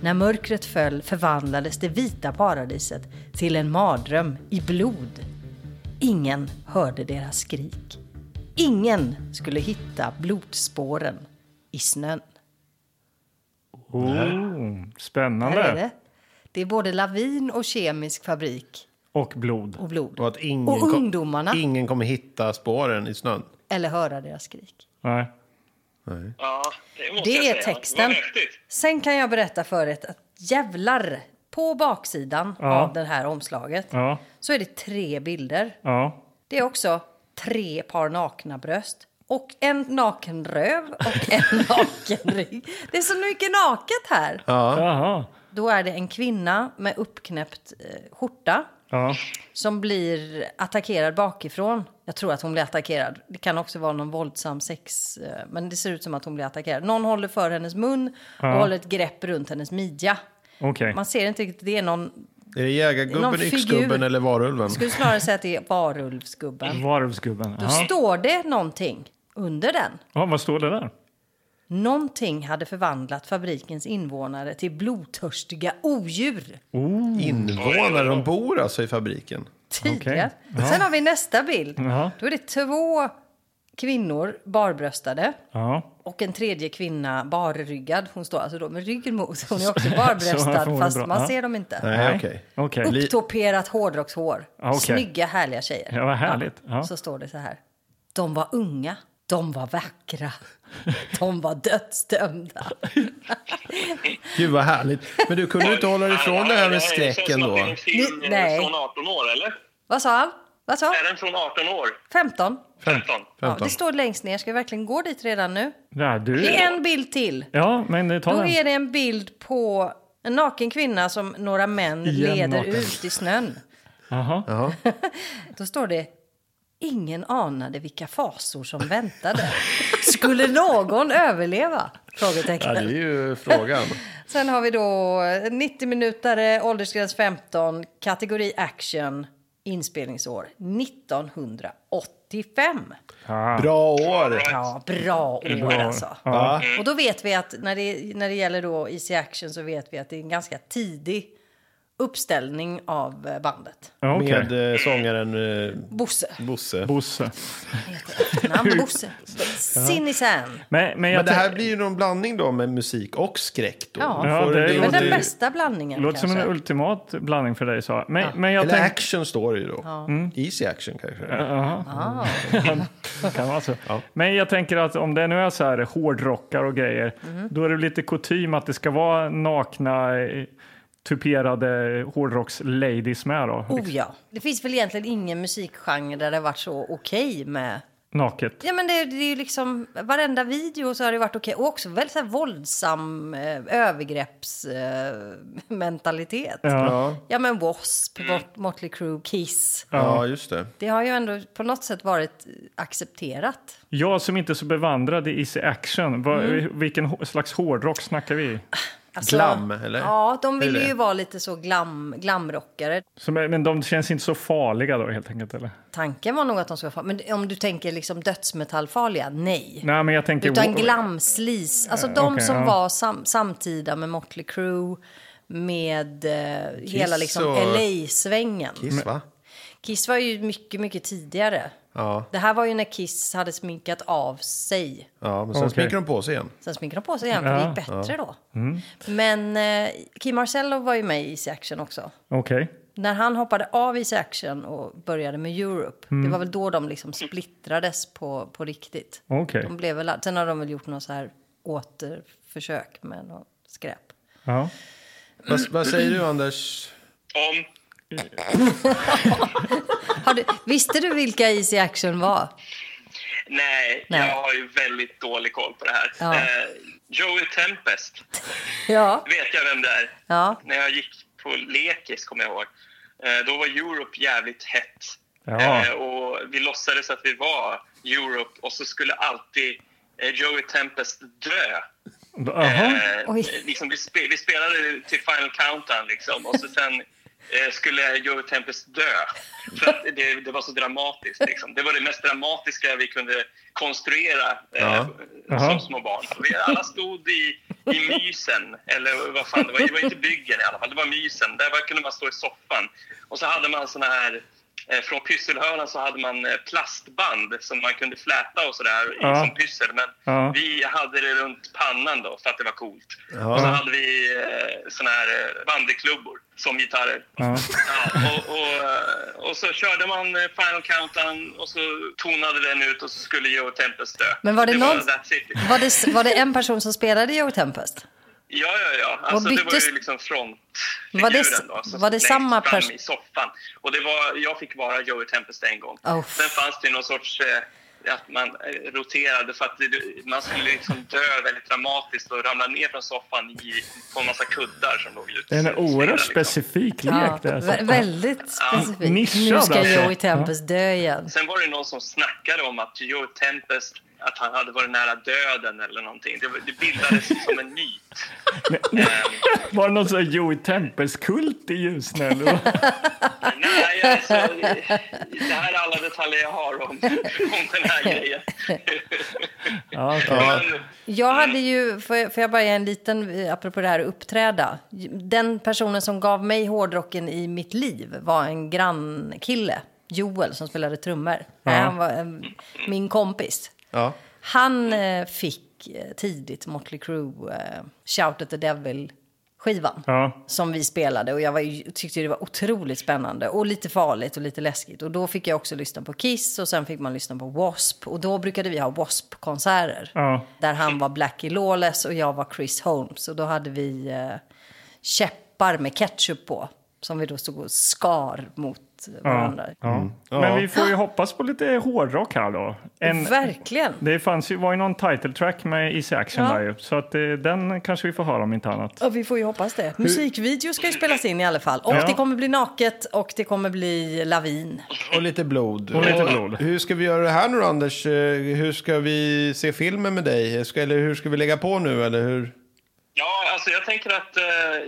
S3: När mörkret föll förvandlades det vita paradiset till en mardröm i blod. Ingen hörde deras skrik. Ingen skulle hitta blodspåren i snön.
S2: Oh,
S3: Här är
S2: spännande.
S3: det. Det är både lavin och kemisk fabrik
S2: Och blod.
S3: och blod.
S1: Och att ingen,
S3: Och
S1: kom-
S3: ungdomarna.
S1: ingen kommer hitta spåren i snön.
S3: Eller höra deras skrik.
S2: Nej.
S4: ja, det måste jag
S3: Det
S4: säga.
S3: är texten.
S4: Vad häftigt.
S3: Sen kan jag berätta för er att jävlar, på baksidan
S2: Ja.
S3: av det här omslaget
S2: Ja,
S3: så är det tre bilder.
S2: ja.
S3: Det är också tre par nakna bröst. Och en naken röv och en [LAUGHS] naken rygg. Det är så mycket naket här.
S2: Jaha.
S3: Då är det en kvinna med uppknäppt eh, skjorta
S2: Ja.
S3: som blir attackerad bakifrån. Jag tror att hon blir attackerad. Det kan också vara någon våldsam sex, eh, men det ser ut som att hon blir attackerad. Någon håller för hennes mun och håller ett grepp runt hennes midja.
S2: Okej.
S3: Man ser inte riktigt, det är någon...
S1: Är det
S3: Någon
S1: jägargubben,
S3: figur.
S1: yxgubben eller varulven?
S3: Jag skulle snarare säga att det är varulvsgubben.
S2: Varulvsgubben.
S3: Då
S2: Ja.
S3: står det någonting under den.
S2: Ja, vad står det där?
S3: Någonting hade förvandlat fabrikens invånare till blodtörstiga odjur.
S1: Invånare, de bor alltså i fabriken.
S3: Tydligen.
S2: Okej. Ja.
S3: Sen har vi nästa bild.
S2: Ja.
S3: Då är det två kvinnor barbröstade
S2: Ja.
S3: och en tredje kvinna barryggad. Hon står alltså då med ryggen mot. Hon
S2: [LAUGHS]
S3: är också barbröstad
S2: hon
S3: fast
S2: bra. Ja.
S3: man ser dem inte.
S1: Nej, okej.
S2: Okej.
S3: Upptoperat hårdrockshår.
S2: Ja, okej.
S3: Snygga härliga tjejer.
S2: Ja, vad härligt. Ja.
S3: Så står det så här. De var unga. De
S2: [LAUGHS]
S3: var vackra. De var dödsdömda.
S1: Gud vad härligt. Men du kunde ju inte hålla dig ifrån det här med skräcken då?
S4: Det känns som att det är en film
S3: Nej.
S4: eh, från 18 år, eller?
S3: Vad sa han? Vad sa han?
S4: Är den från 18 år?
S3: 15?
S4: 15?
S3: Ja,
S1: 15.
S3: det står längst ner. Ska vi verkligen gå dit redan nu?
S2: Där, du.
S3: Det är en bild till.
S2: Ja, men eh, ta
S3: Då
S2: den.
S3: är det en bild på en naken kvinna som några män
S2: Igen
S3: leder
S2: naken.
S3: ut i snön.
S2: Jaha.
S3: Då står det Ingen anade vilka fasor som
S1: [LAUGHS]
S3: väntade. Skulle någon överleva?
S1: Ja, det är
S3: Frågetecken.
S1: ju frågan.
S3: Sen har vi då 90 minutare, åldersgräns 15, kategori action, inspelningsår 1985.
S1: Bra år!
S3: Ja, bra år alltså.
S1: Va?
S3: Och då vet vi att när det, när det gäller då Easy Action så vet vi att det är en ganska tidig uppställning av eh, bandet.
S2: Ja, Okej.
S1: Med eh, sångaren eh,
S3: Bosse.
S1: Bosse.
S2: Bosse.
S3: [LAUGHS] Namn Bosse. Sinnisen.
S2: Men, men jag
S1: Men det här
S2: tänk-
S1: blir ju någon blandning då med musik och skräck då.
S3: Ja.
S1: Du
S2: Ja,
S1: får
S2: det
S1: en
S2: är-
S1: del-
S3: Men den
S2: låter-
S3: bästa blandningen
S2: låter som
S3: kanske.
S2: en ultimat blandning för dig, Sara. Men, men jag
S1: Eller
S2: tänk- Mm.
S1: action står det ju då. Easy action kanske.
S2: Det kan vara så. alltså. Men jag tänker att om det nu är så här hårdrockar och grejer,
S3: Mhm.
S2: då är det lite kutym att det ska vara nakna, eh, tuperade hårdrocks-ladies med då.
S3: Oh ja. Det finns väl egentligen ingen musikgenre där det har varit så okej med...
S2: Naket.
S3: Ja men det, det är ju liksom, varenda video så har det varit okej. Och också väldigt så här våldsam eh, övergreppsmentalitet. Eh, mentalitet.
S2: Ja.
S1: Ja.
S3: Ja men W.A.S.P, Mot- Motley Crue, Kiss.
S1: ja, just det.
S3: Det har ju ändå på något sätt varit accepterat.
S2: Jag som inte är så bevandrad i Easy Action, vad,
S3: Mm.
S2: vilken hå- slags hårdrock snackar vi?
S3: Alltså-
S1: Glam, eller?
S3: Ja, de
S1: Hur är
S3: ville
S1: det?
S3: ju vara lite så glam, glamrockare.
S2: Som, men de känns inte så farliga då helt enkelt eller?
S3: Tanken var nog att de skulle vara Men om du tänker liksom dödsmetallfarliga, nej.
S2: Nej men jag tänker...
S3: Utan glamslis. Alltså de
S2: Eh, okej,
S3: som
S2: ja.
S3: var sam, samtida med Motley Crue, med eh, hela liksom
S1: och-
S3: LA-svängen. Kiss.
S1: Kiss va?
S3: var ju mycket, mycket tidigare.
S1: Ja.
S3: Det här var ju när Kiss hade sminkat av sig.
S1: Ja, men sen
S2: Okej.
S1: sminkar de på sig igen.
S3: Sen sminkade de på sig igen, för det
S2: Ja. Mm.
S3: gick bättre då. Men eh, Kim Marcello var ju med i Easy Action också.
S2: Okej.
S3: När han hoppade av Easy Action och började med Europe,
S2: Mm.
S3: det var väl då de liksom splittrades på, på riktigt.
S2: Okej.
S3: De blev väl, sen har de väl gjort något så här återförsök med något skräp.
S2: Ja.
S1: Vad, vad säger du Anders?
S4: Om
S3: Har du, visste du vilka Easy Action var?
S4: Nej,
S3: Nej.
S4: jag har ju väldigt dålig koll på det här.
S3: Ja.
S4: Eh, Joey Tempest
S3: Ja.
S4: vet jag vem det är.
S3: Ja.
S4: När jag gick på lekis, kommer jag ihåg, eh, då var Europe jävligt hett.
S2: Ja.
S4: Eh, och vi låtsades att vi var Europe och så skulle alltid eh, Joey Tempest dö.
S2: Jaha.
S4: Eh,
S3: Oj.
S4: liksom vi, spe, vi spelade till Final Countdown liksom, och så sen eh, skulle Joey Tempest dö. För att det, det var så dramatiskt. Liksom. Det var det mest dramatiska vi kunde konstruera eh,
S1: Ja.
S2: Jaha.
S4: som små barn. Vi alla stod i, i mysen, eller vad fan det var. Det var inte byggen i alla fall, det var mysen. Där var- kunde man stå i soffan. Och så hade man såna här eh, från pysselhörnan så hade man eh, plastband som man kunde fläta och sådär i
S2: Ja.
S4: som pyssel. Men
S2: Ja.
S4: vi hade det runt pannan då för att det var coolt.
S1: Ja.
S4: Och så hade vi eh, såna här eh, bandyklubbor som gitarrer.
S2: Ja.
S4: Ja, och, och, eh, och så körde man eh, Final Countdown och så tonade den ut och så skulle Joe Tempest dö.
S3: Men var det någon-
S4: that's it.
S3: Var det, var det en person som spelade Joe Tempest?
S4: Ja, ja, ja. Alltså,
S3: Och
S4: det var
S3: byttes-
S4: ju liksom front
S3: Var det-
S4: då, som
S3: var det
S4: längst
S3: samma
S4: fram
S3: pers-
S4: i soffan. Och det var, jag fick vara Joey Tempest en gång.
S3: Oh.
S4: Sen fanns det någon sorts eh, att man eh, roterade för att det, man skulle liksom dö väldigt dramatiskt och ramla ner från soffan i, på en massa kuddar som låg ute.
S2: Det är en oerhört
S4: Liksom.
S2: specifik lek.
S3: Ja,
S2: det är så.
S3: vä- väldigt specifikt.
S2: Nischad
S3: Nu ska
S2: alltså.
S3: Joey Tempest dö igen.
S4: Sen var det någon som snackade om att Joe Tempest att han hade varit nära döden eller någonting. Det, var- det bildades som en myt. Ehm,
S2: [LAUGHS] Var det någon sån här Joey Tempest-kult i Ljusne?
S3: [LAUGHS]
S2: eller vad?
S4: Nej, alltså, det här är alla detaljer jag har om, om den här grejen.
S2: Ja, okej.
S4: Men,
S3: Jag hade ju, får jag, får jag bara ge en liten, eh, apropå det här att uppträda. Den personen som gav mig hårdrocken i mitt liv var en grannkille, Joel, som spelade trummor. Nej, han var eh, min kompis.
S1: Ja.
S3: Han eh, fick eh, tidigt Motley Crue, eh, Shout at the Devil-skivan.
S2: Ja.
S3: Som vi spelade och jag var, ju- tyckte det var otroligt spännande och lite farligt och lite läskigt. Och då fick jag också lyssna på Kiss och sen fick man lyssna på W.A.S.P. Och då brukade vi ha W.A.S.P-konserter.
S2: Ja.
S3: Där han var Blackie Lawless och jag var Chris Holmes. Och då hade vi eh, käppar med ketchup på. Som vi då stod och skar mot varandra.
S1: Mm.
S2: Ja. Men vi får ju hoppas på lite hårdrock här då. En,
S3: Verkligen.
S2: det fanns ju, var ju någon title track med Easy Action
S3: Ja.
S2: där ju. Så att eh, den kanske vi får höra om inte annat.
S3: Ja, vi får ju hoppas det. Musikvideo ska ju spelas in i alla fall. Och
S2: Ja.
S3: det kommer bli naket och det kommer bli lavin.
S1: Och lite blod.
S2: Och lite blod.
S1: Hur ska vi göra det här nu då, Anders? Eh, Hur ska vi se filmen med dig? Ska, eller hur ska vi lägga på nu? Eller hur?
S4: ja, alltså jag tänker att eh,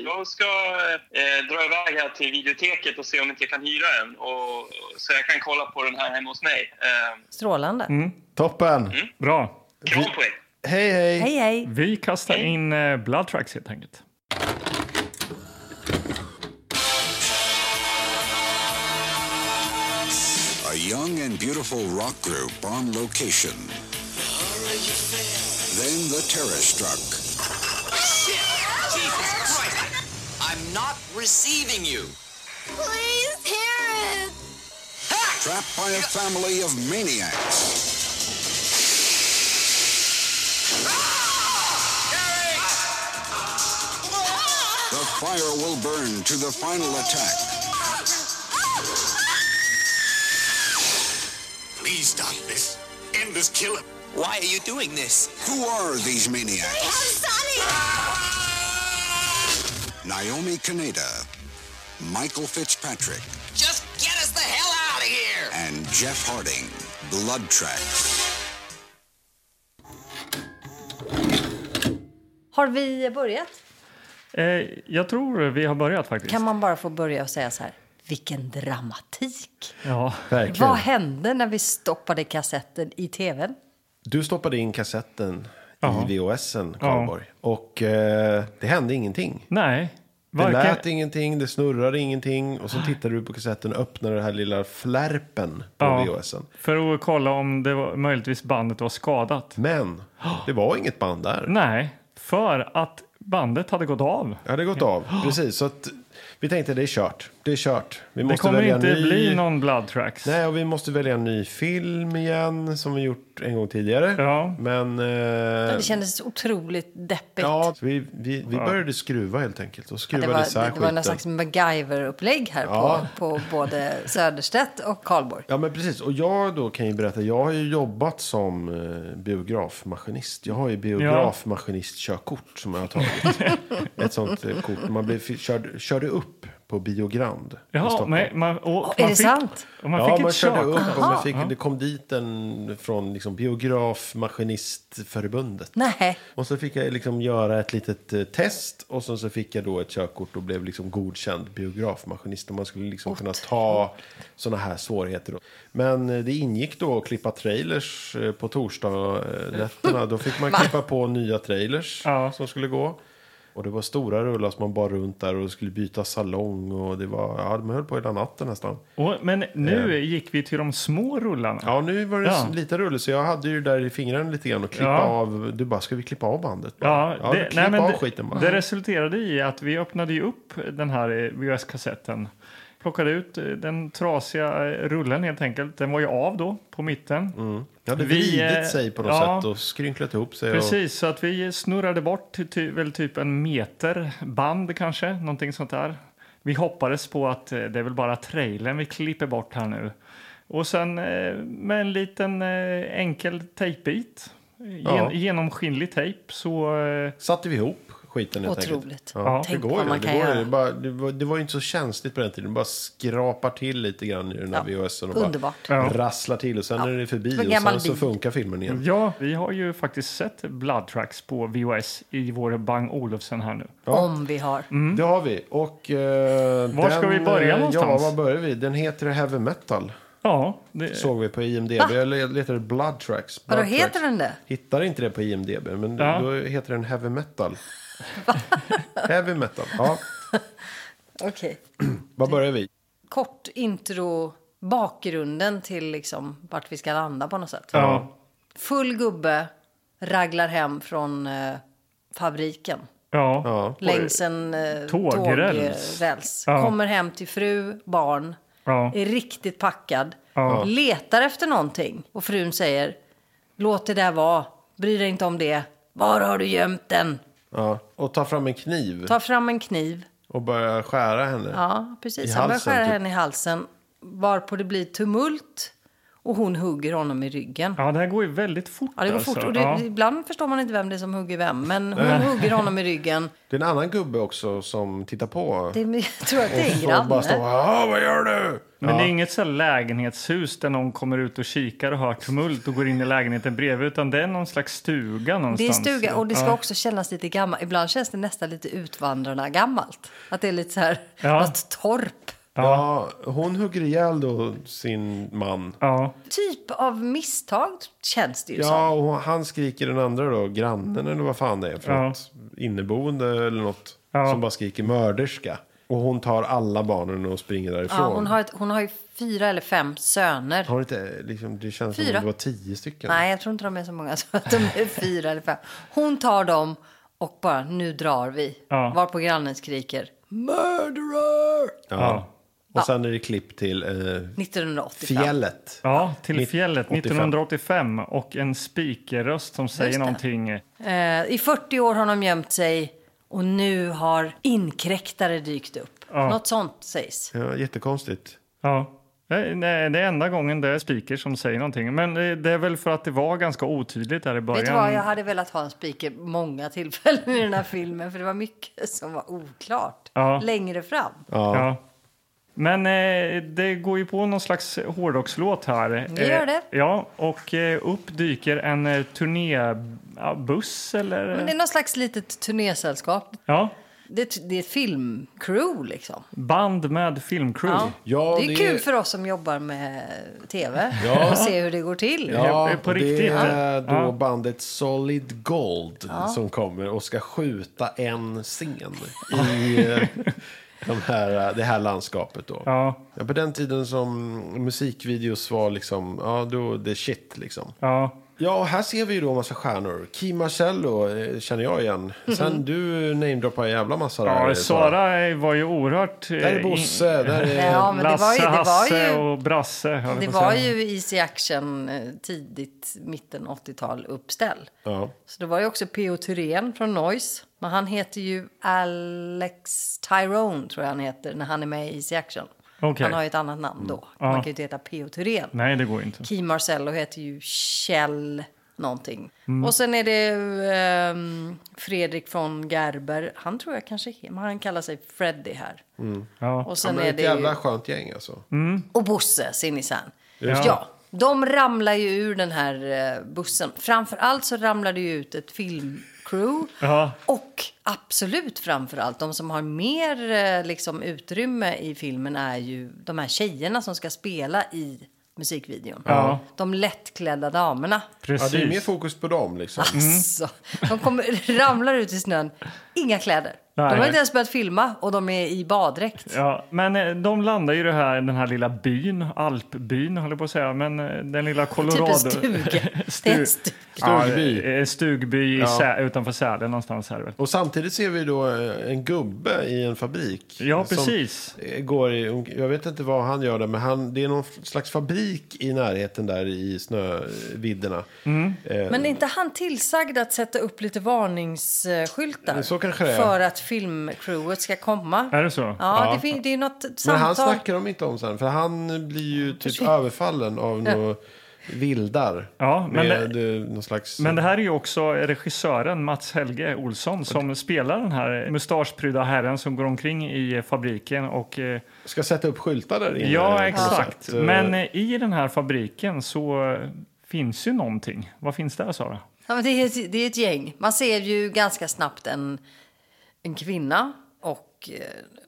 S4: jag ska eh, dra iväg här till videoteket och se om inte jag kan hyra en. Och, så jag kan kolla på den här hemma hos mig. Eh,
S3: Strålande.
S1: Toppen!
S2: Mm. Bra.
S4: kram på er!
S1: Hej, hej!
S3: Hej, hej.
S2: Vi kastar in eh, Blood Tracks helt enkelt.
S5: young and beautiful rock group on location. Then the terror struck.
S6: Shit! Jesus Christ! I'm not receiving you!
S7: Please, Terrence!
S5: trapped by a family of maniacs. The fire will burn to the final attack.
S8: Please stop this. End this killing.
S6: Why are you doing this?
S5: Who are these
S7: We
S5: maniacs?
S7: have Sonic!
S5: Naomi Kaneda, Michael Fitzpatrick,
S6: Just get us the hell out of here!
S5: and Jeff Harding. Blood Tracks.
S3: Har vi börjat?
S2: Eh, jag tror vi har börjat faktiskt.
S3: Kan man bara få börja och säga så här, vilken dramatik.
S2: Ja.
S1: Verkligen.
S3: Vad hände när vi stoppade kassetten i tvn?
S1: Du stoppade in kassetten
S2: Ja.
S1: i VHSen,
S2: Ja.
S1: Karlborg. Och eh, det hände ingenting.
S2: Nej.
S1: Det
S2: varken-
S1: lät ingenting, det snurrade ingenting. Och så tittade du på kassetten och öppnade den här lilla flärpen på
S2: Ja,
S1: VHSen.
S2: för att kolla om det var, möjligtvis bandet var skadat. [GASPS]
S1: Men det var inget band där.
S2: Nej, för att bandet hade gått av.
S1: Det hade gått
S2: [GASPS]
S1: av, precis. Så att vi tänkte det är kört. Det är kört. Vi måste
S2: det kommer
S1: välja
S2: inte
S1: en ny...
S2: bli någon Blood Tracks.
S1: Nej, och vi måste välja en ny film igen som vi gjort en gång tidigare.
S2: Ja.
S1: Men... Eh,
S3: Det kändes otroligt deppigt.
S1: ja, så vi, vi, vi började skruva helt enkelt och
S3: Ja,
S1: skruva
S3: det var,
S1: isär
S3: det var någon
S1: skiten.
S3: slags MacGyver-upplägg här
S1: Ja.
S3: på, på både Söderstedt och Karlborg.
S1: Ja, men precis. Och jag då kan ju berätta, jag har ju jobbat som eh, biografmaskinist. Jag har ju biografmaskinistkörkort som jag har
S2: [LAUGHS]
S1: tagit. Ett sånt eh, kort. Man blev, fi- körd, körde upp på Biogrand. i
S2: Ja,
S1: Stockholm.
S2: men man, och, man
S3: är det
S2: fick,
S3: sant?
S2: Och man
S1: ja,
S2: fick
S1: man
S2: ett
S1: körde
S2: körkort.
S1: upp och man fick, det kom dit en från liksom, biografmaskinistförbundet.
S3: Nej.
S1: Och så fick jag liksom göra ett litet eh, test och sen så fick jag då ett körkort och blev liksom godkänd biografmaskinist. Och man skulle liksom kunna ta sådana här svårigheter. Då. Men eh, det ingick då att klippa trailers eh, på torsdagsnätterna. Då fick man klippa på nya trailers
S2: Ja.
S1: som skulle gå. Och det var stora rullar som man bar runt där och skulle byta salong. Och det var, ja, de höll på hela natten nästan.
S2: Och, men nu gick vi till de små rullarna.
S1: Ja, nu var det
S2: Ja.
S1: s- lite rulle så jag hade ju där i fingrarna lite grann och klippa
S2: Ja.
S1: av. Du bara, ska vi klippa av bandet? Bara?
S2: Ja,
S1: ja,
S2: det,
S1: klipp
S2: nej, men
S1: av
S2: det-
S1: skiten bara.
S2: det resulterade i att vi öppnade ju upp den här eh, VHS-kassetten. Plockade ut eh, den trasiga eh, rullen helt enkelt. Den var ju av då på mitten.
S1: Det hade
S2: Vi, eh,
S1: vridit sig på något
S2: ja.
S1: sätt och skrynklat ihop sig. Och,
S2: Precis, så att vi snurrade bort till, ty- väl typ en meter band kanske, någonting sånt där. Vi hoppades på att eh, det är väl bara trailern vi klipper bort här nu. Och sen eh, med en liten eh, enkel tejpbit, gen-
S1: Ja.
S2: genomskinlig tejp, så... eh,
S1: satte vi ihop skiten helt enkelt.
S3: Otroligt.
S1: Ja, det
S3: Tänk
S1: går
S3: vad
S1: ju.
S3: man
S1: Det,
S3: kan
S1: går ju.
S3: göra.
S1: Det, bara, det, var, det var ju inte så känsligt på den tiden. Det bara skrapar till lite grann i den här
S3: Ja,
S1: VHSen och
S3: underbart.
S1: bara
S2: Ja.
S1: rasslar till och sen är det
S3: det var
S1: förbi
S3: en
S1: och
S3: gammal
S1: sen så
S3: bil.
S1: funkar filmen igen.
S2: Ja, vi har ju faktiskt sett Blood Tracks på VHS i vår Bang Olufsen här nu.
S3: Om vi har.
S1: Det har vi. Och, eh,
S2: Mm. Var ska vi börja
S1: eh,
S2: någonstans? Eh.
S1: Ja, var börjar vi? Den heter Heavy Metal.
S2: Ja, det,
S1: Såg vi på IMDB.
S3: Va?
S1: Jag letade Blood Tracks. Blood
S3: Vadå, heter
S1: Tracks.
S3: den det?
S1: Hittar inte det på IMDB, men
S2: Ja.
S1: då heter den Heavy Metal. heavy Metal, ja.
S3: Okej.
S1: Var börjar vi?
S3: Kort intro, bakgrunden till liksom vart vi ska landa på något sätt.
S2: ja,
S3: Full gubbe raglar hem från eh, fabriken
S2: ja,
S1: Ja.
S3: längs en eh,
S2: Tågräls.
S3: tågräls.
S2: Ja.
S3: Kommer hem till fru, barn,
S2: Ja.
S3: är riktigt packad.
S2: Ja.
S3: Letar efter någonting och frun säger låt det där vara, bry dig inte om det. Var har du gömt den?
S1: Ja, och ta fram en kniv
S3: Ta fram en kniv.
S1: och börja skära henne.
S3: Ja, precis.
S1: I
S3: Han börjar
S1: halsen,
S3: skära
S1: typ.
S3: henne i halsen varpå det blir tumult och hon hugger honom i ryggen.
S2: ja, det här går ju väldigt fort.
S3: Ja, det går
S2: alltså.
S3: fort. Och det,
S2: ja.
S3: Ibland förstår man inte vem det är som hugger vem, men hon hugger honom i ryggen.
S1: Det är en annan gubbe också som tittar på.
S3: Det, är- jag tror att det är
S1: och så bara står
S3: granne.
S1: ja vad gör du?
S2: Men det är inget så här lägenhetshus där någon kommer ut och kikar och hör tumult och går in i lägenheten bredvid, utan det är någon slags stuga
S3: Det är
S2: någonstans.
S3: stuga och det ska
S2: ja.
S3: också kännas lite gammalt. Ibland känns det nästan lite utvandrarna gammalt. Att det är lite så här,
S2: Ja.
S3: något torp.
S1: Ja, hon hugger ihjäl då sin man.
S2: Ja,
S3: Typ av misstag känns det ju som.
S1: Ja, och han skriker den andra då, grannen eller vad fan det är för
S2: Ja.
S1: något inneboende eller något.
S2: Ja.
S1: Som bara skriker mörderska. Och hon tar alla barnen och springer därifrån.
S3: Ja, hon, har ett, hon har ju fyra eller fem söner.
S1: Har hon inte, liksom, det känns som
S3: Fyra.
S1: om det var tio stycken.
S3: Nej, jag tror inte de är så många. [LAUGHS] Så att de är fyra eller fem. Hon tar dem och bara, nu drar vi.
S2: Ja.
S3: Varpå grannen skriker, murderer!
S1: Ja. Och sen är det klipp till eh,
S3: 1985.
S1: fjället.
S2: Ja, till
S1: Nitt-
S2: fjället
S1: 85.
S2: 1985 och en spikerröst som säger
S3: Just det.
S2: någonting.
S3: Eh, I 40 år har de gömt sig och nu har inkräktare dykt upp. Något sånt sägs.
S1: Ja, jättekonstigt.
S2: Ja. Eh, Nej, det är enda gången det är spiker som säger någonting. Men eh, det är väl för att det var ganska otydligt där i början.
S3: Vet du vad, jag hade velat ha en speaker många tillfällen i den här filmen för det var mycket som var oklart
S2: Ja.
S3: längre fram.
S2: Ja. Men eh, det går ju på någon slags hårdrockslåt här.
S3: Det gör
S2: Eh,
S3: det.
S2: Ja, och eh, upp dyker en eh, turnébuss eller...
S3: Men det är någon slags litet turnésällskap.
S2: Ja,
S3: Det, är ett- det är ett filmcrew liksom.
S2: band med filmcrew.
S3: Ja.
S1: Ja,
S3: det är
S1: det-
S3: kul för oss som jobbar med tv
S1: [LAUGHS] Ja.
S3: och se hur det går till.
S2: Ja, på
S1: och
S2: riktigt.
S1: Det är då
S2: Ja.
S1: bandet Solid Gold som kommer och ska skjuta en scen i eh, de här, eh, det här landskapet. Då.
S2: Ja.
S1: Ja, på den tiden som musikvideos var liksom, ja, då the shit. Liksom.
S2: Ja.
S1: Ja, och här ser vi ju då en massa stjärnor. Kim Marcello eh, känner jag igen. Sen du namedroppar en jävla massa där.
S2: Mm-hmm. Ja, Sara var ju oerhört... eh,
S1: Där är Bosse, där är...
S3: Ja, men det var
S2: Lasse,
S3: ju, det var
S2: Hasse
S3: ju,
S2: och Brasse. höll jag
S3: det
S2: på att
S3: var
S2: säga.
S3: ju Easy Action eh, tidigt, mitten 80-tal uppställ.
S1: Ja.
S3: Så det var ju också P.O. Thyrén från Noise. Men han heter ju Alex Tyrone, tror jag han heter, när han är med i Easy Action.
S2: Okej.
S3: Han har ju ett annat namn
S1: Mm.
S3: då. Man kan ju inte heta P.O. Thyrén.
S2: Nej, det går ju inte.
S3: Kim Marcello heter ju Kjell någonting.
S1: Mm.
S3: Och sen är det ehm, Fredrik von Gerber. Han tror jag kanske, men han kallar sig Freddy här.
S1: Mm.
S2: Ja.
S3: Och sen
S1: Men
S3: är
S1: ett
S3: det
S1: jävla
S3: ju,
S1: skönt gäng alltså.
S3: och Bosse Sinisen. Ja, de ramlar ju ur den här eh, bussen. Framför allt så ramlar det ju ut ett filmcrew.
S2: Ja.
S3: Och absolut framför allt, de som har mer eh, liksom, utrymme i filmen är ju de här tjejerna som ska spela i musikvideon.
S2: Ja. Mm.
S3: De lättklädda damerna.
S1: Ja, det är mer
S2: Precis.
S1: fokus på dem liksom.
S3: Så, de kommer, [LAUGHS] ramlar ut i snön, inga kläder.
S2: Nej.
S3: De har inte ens börjat filma och de är i baddräkt.
S2: Ja, men eh, de landar ju i det här, den här lilla byn, alpbyn höll jag på att säga, men eh, den lilla Colorado...
S3: Typ en
S2: [LAUGHS]
S3: stuga. Det är en stuga.
S1: Stugby.
S2: Ja, eh, stugby i Sä, utanför Sälen någonstans här väl.
S1: Och samtidigt ser vi då eh, en gubbe i en fabrik.
S2: Ja,
S1: som,
S2: precis.
S1: eh, Går i, jag vet inte vad han gör där, men han, det är någon slags fabrik i närheten där i snövidderna.
S3: Men är inte han tillsagd att sätta upp lite varningsskyltar?
S1: Så kanske det är.
S3: För att filmcrewet ska komma.
S2: Är det så?
S3: Ja, Det, fin- det är något
S1: Men
S3: samtal.
S1: han snackar de inte om sen, för han blir ju typ överfallen av några vildar.
S2: Ja, men
S1: med det, någon slags...
S2: Men det här är ju också regissören Mats Helge Olsson som spelar den här mustaschprydda herren som går omkring i eh, fabriken och eh,
S1: Ska sätta upp skyltar där inne. på
S2: Ja,
S1: något
S2: exakt.
S1: sätt. Eh,
S2: Men eh, i den här fabriken så eh, finns ju någonting. Vad finns där, Sara?
S3: Ja, men det, är ett, det är ett gäng. Man ser ju ganska snabbt en, en kvinna och eh,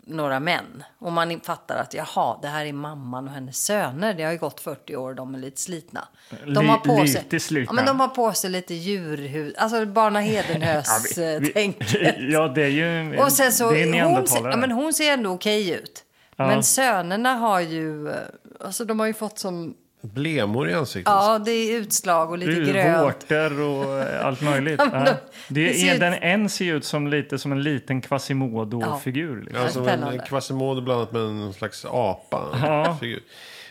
S3: några män. Och man fattar att jaha, det här är mamman och hennes söner. Det har ju gått 40 år och de är lite slitna. De
S2: Li-
S3: har på sig,
S2: lite slitna.
S3: Ja, men de har på sig lite djurhud. Alltså Barna eh, Hedenhös-tänket.
S2: [LAUGHS] Ja, det är ju
S3: Och sen så,
S2: det är
S3: hon, ser,
S2: neandertalare.
S3: ja, men hon ser ändå okej ut. Men sönerna har ju... eh, Alltså de har ju fått som...
S1: Blemor i ansiktet.
S3: Ja, det är utslag och lite
S2: Det är ju
S3: grönt.
S2: vårtor och eh, allt möjligt.
S3: [LAUGHS] Ja, men
S2: Ja.
S3: de-
S2: det
S3: det ser
S2: är,
S3: ut-
S2: den, en ser ju ut som lite som en liten Quasimodo-figur.
S1: Ja,
S2: Liksom.
S1: som en
S3: Spännande.
S1: Quasimodo blandat med en slags apa.
S2: Ja. Mm.
S1: Figur.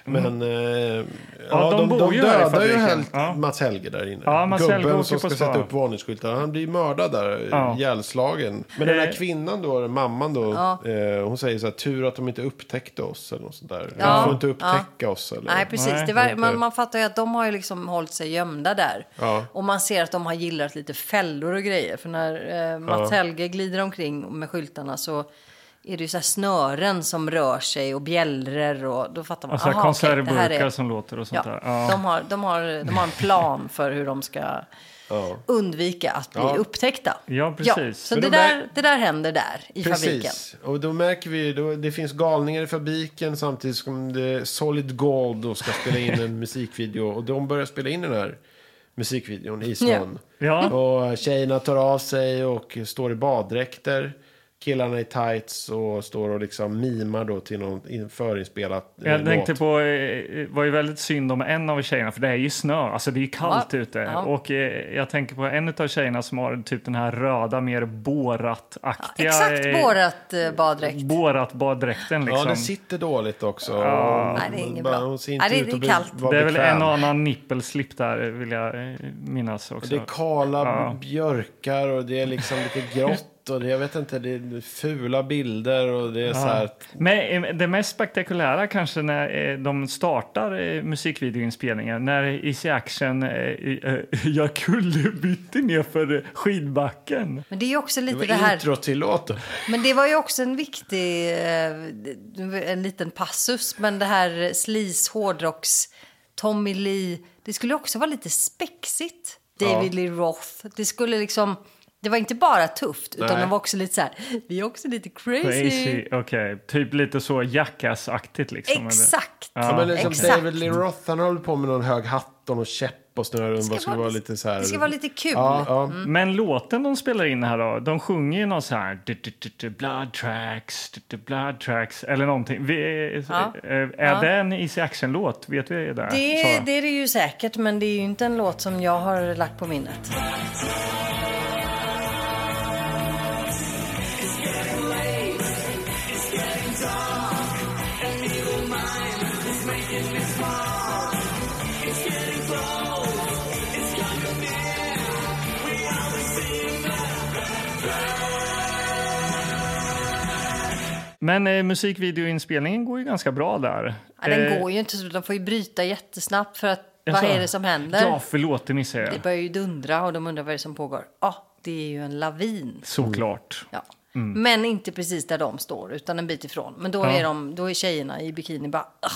S1: Men eh,
S2: Ja,
S1: ja,
S2: de
S1: de, de,
S2: bor ju här i
S1: dödar ju
S2: fabriken.
S1: helt
S2: Ja.
S1: Mats Helge där inne.
S2: Ja, Mats Helge
S1: Gubben
S2: åker
S1: som
S2: på
S1: ska
S2: stan.
S1: sätta upp varningsskyltar. Han blir mördad där,
S2: Ja.
S1: ihjälslagen. Men den
S2: Eh.
S1: här kvinnan då, mamman då, eh, hon säger så här, tur att de inte upptäckte oss eller något sånt där.
S3: Ja.
S1: De får inte upptäcka oss eller.
S3: Nej, precis.
S2: Nej,
S3: det
S1: det är
S3: var,
S1: inte-
S3: man, man fattar ju att de har ju liksom hållit sig gömda där.
S1: Ja.
S3: Och man ser att de har gillrat lite fällor och grejer. För när eh, Mats Helge glider omkring med skyltarna så är det ju så här snören som rör sig och bjällror och då fattar man.
S2: Alltså,
S3: aha, okej, det här
S2: konservburkar
S3: är-
S2: som låter och sånt
S3: Ja,
S2: där. Ja.
S3: De, har, de, har, de har en plan för hur de ska undvika att bli
S1: Ja.
S3: upptäckta.
S2: Ja, precis.
S3: så
S1: Men
S3: det
S1: de
S3: där,
S1: där-
S3: det där händer där i fabriken.
S1: Och då märker vi då, det finns galningar i fabriken samtidigt som det Solid Gold då ska spela in en [LAUGHS] musikvideo. Och de börjar spela in den här musikvideon i snön.
S2: Ja. Ja.
S1: Och tjejerna tar av sig och står i baddräkter. killarna i tights och står och liksom mimar då till någon in- förinspelat eh,
S2: Jag tänkte
S1: låt.
S2: på, eh, var ju väldigt synd om en av tjejerna för det är ju snö, alltså det är ju kallt
S3: Ja,
S2: ute.
S3: ja.
S2: Och eh, jag tänker på en av tjejerna som har typ den här röda, mer Borat-aktiga.
S3: Exakt
S2: eh,
S3: vårat eh, baddräkt.
S2: Borat-baddräkten liksom.
S1: Ja, den sitter dåligt också.
S3: Nej, det är inget
S1: Bara-
S3: bra.
S1: Hon ser inte
S3: Nej, det-
S1: ut
S3: det är
S1: att bli,
S3: kallt.
S1: vara
S2: det är väl
S1: bekväm.
S2: en och annan nippelslip där eh, vill jag eh, minnas också.
S1: Det är kala
S2: Ja.
S1: björkar och det är liksom
S2: [LAUGHS]
S1: lite grått och det, jag vet inte, det är fula bilder och det är så här.
S2: Men eh, det mest spektakulära kanske när eh, de startar eh, musikvideoinspelningen när Easy Action eh, eh, [LAUGHS] gör kullerbyttor nerför skidbacken.
S3: Men det är ju också
S1: Det
S3: lite
S1: var
S3: det, här.
S1: intro till låten.
S3: Men det var ju också en viktig, eh, en liten passus. Men det här Sleaze hårdrocks, Tommy Lee. Det skulle också vara lite spexigt. David Lee Roth. Det skulle liksom, det var inte bara tufft. Utan
S1: Nej.
S3: det var också lite så här, vi är också lite crazy.
S2: Crazy, okej. Typ lite så Jackass-aktigt liksom. eller?
S3: Exakt.
S1: Ja, men liksom
S3: Exakt.
S1: David Lee Roth, han håller på med någon hög hatt och någon käpp och snöre. Det ska, ska vara lite så här.
S3: det ska vara lite kul. Mm.
S1: Ja, ja.
S2: Men låten de spelar in här då, de sjunger ju någon så här du, du, du, du, blood tracks, du, du, blood tracks eller någonting. Vi,
S3: Ja.
S2: eh, Är det en Easy Action-låt? Vet vi det?
S3: Det,
S2: Sara?
S3: det är det ju säkert, men det är ju inte en låt som jag har lagt på minnet.
S2: Men eh, musikvideoinspelningen går ju ganska bra där.
S3: Ja, den
S2: Eh,
S3: går ju inte så, de får ju bryta jättesnabbt för att
S2: Jaså?
S3: vad är det som händer?
S2: Ja, förlåt, det missade jag.
S3: Det börjar ju dundra och de undrar vad det är som pågår. Ja, det är ju en lavin.
S2: Såklart.
S3: Ja.
S2: Mm.
S3: Men inte precis där de står, utan en bit ifrån. Men då, är, de, då är tjejerna i bikini bara, "Ah,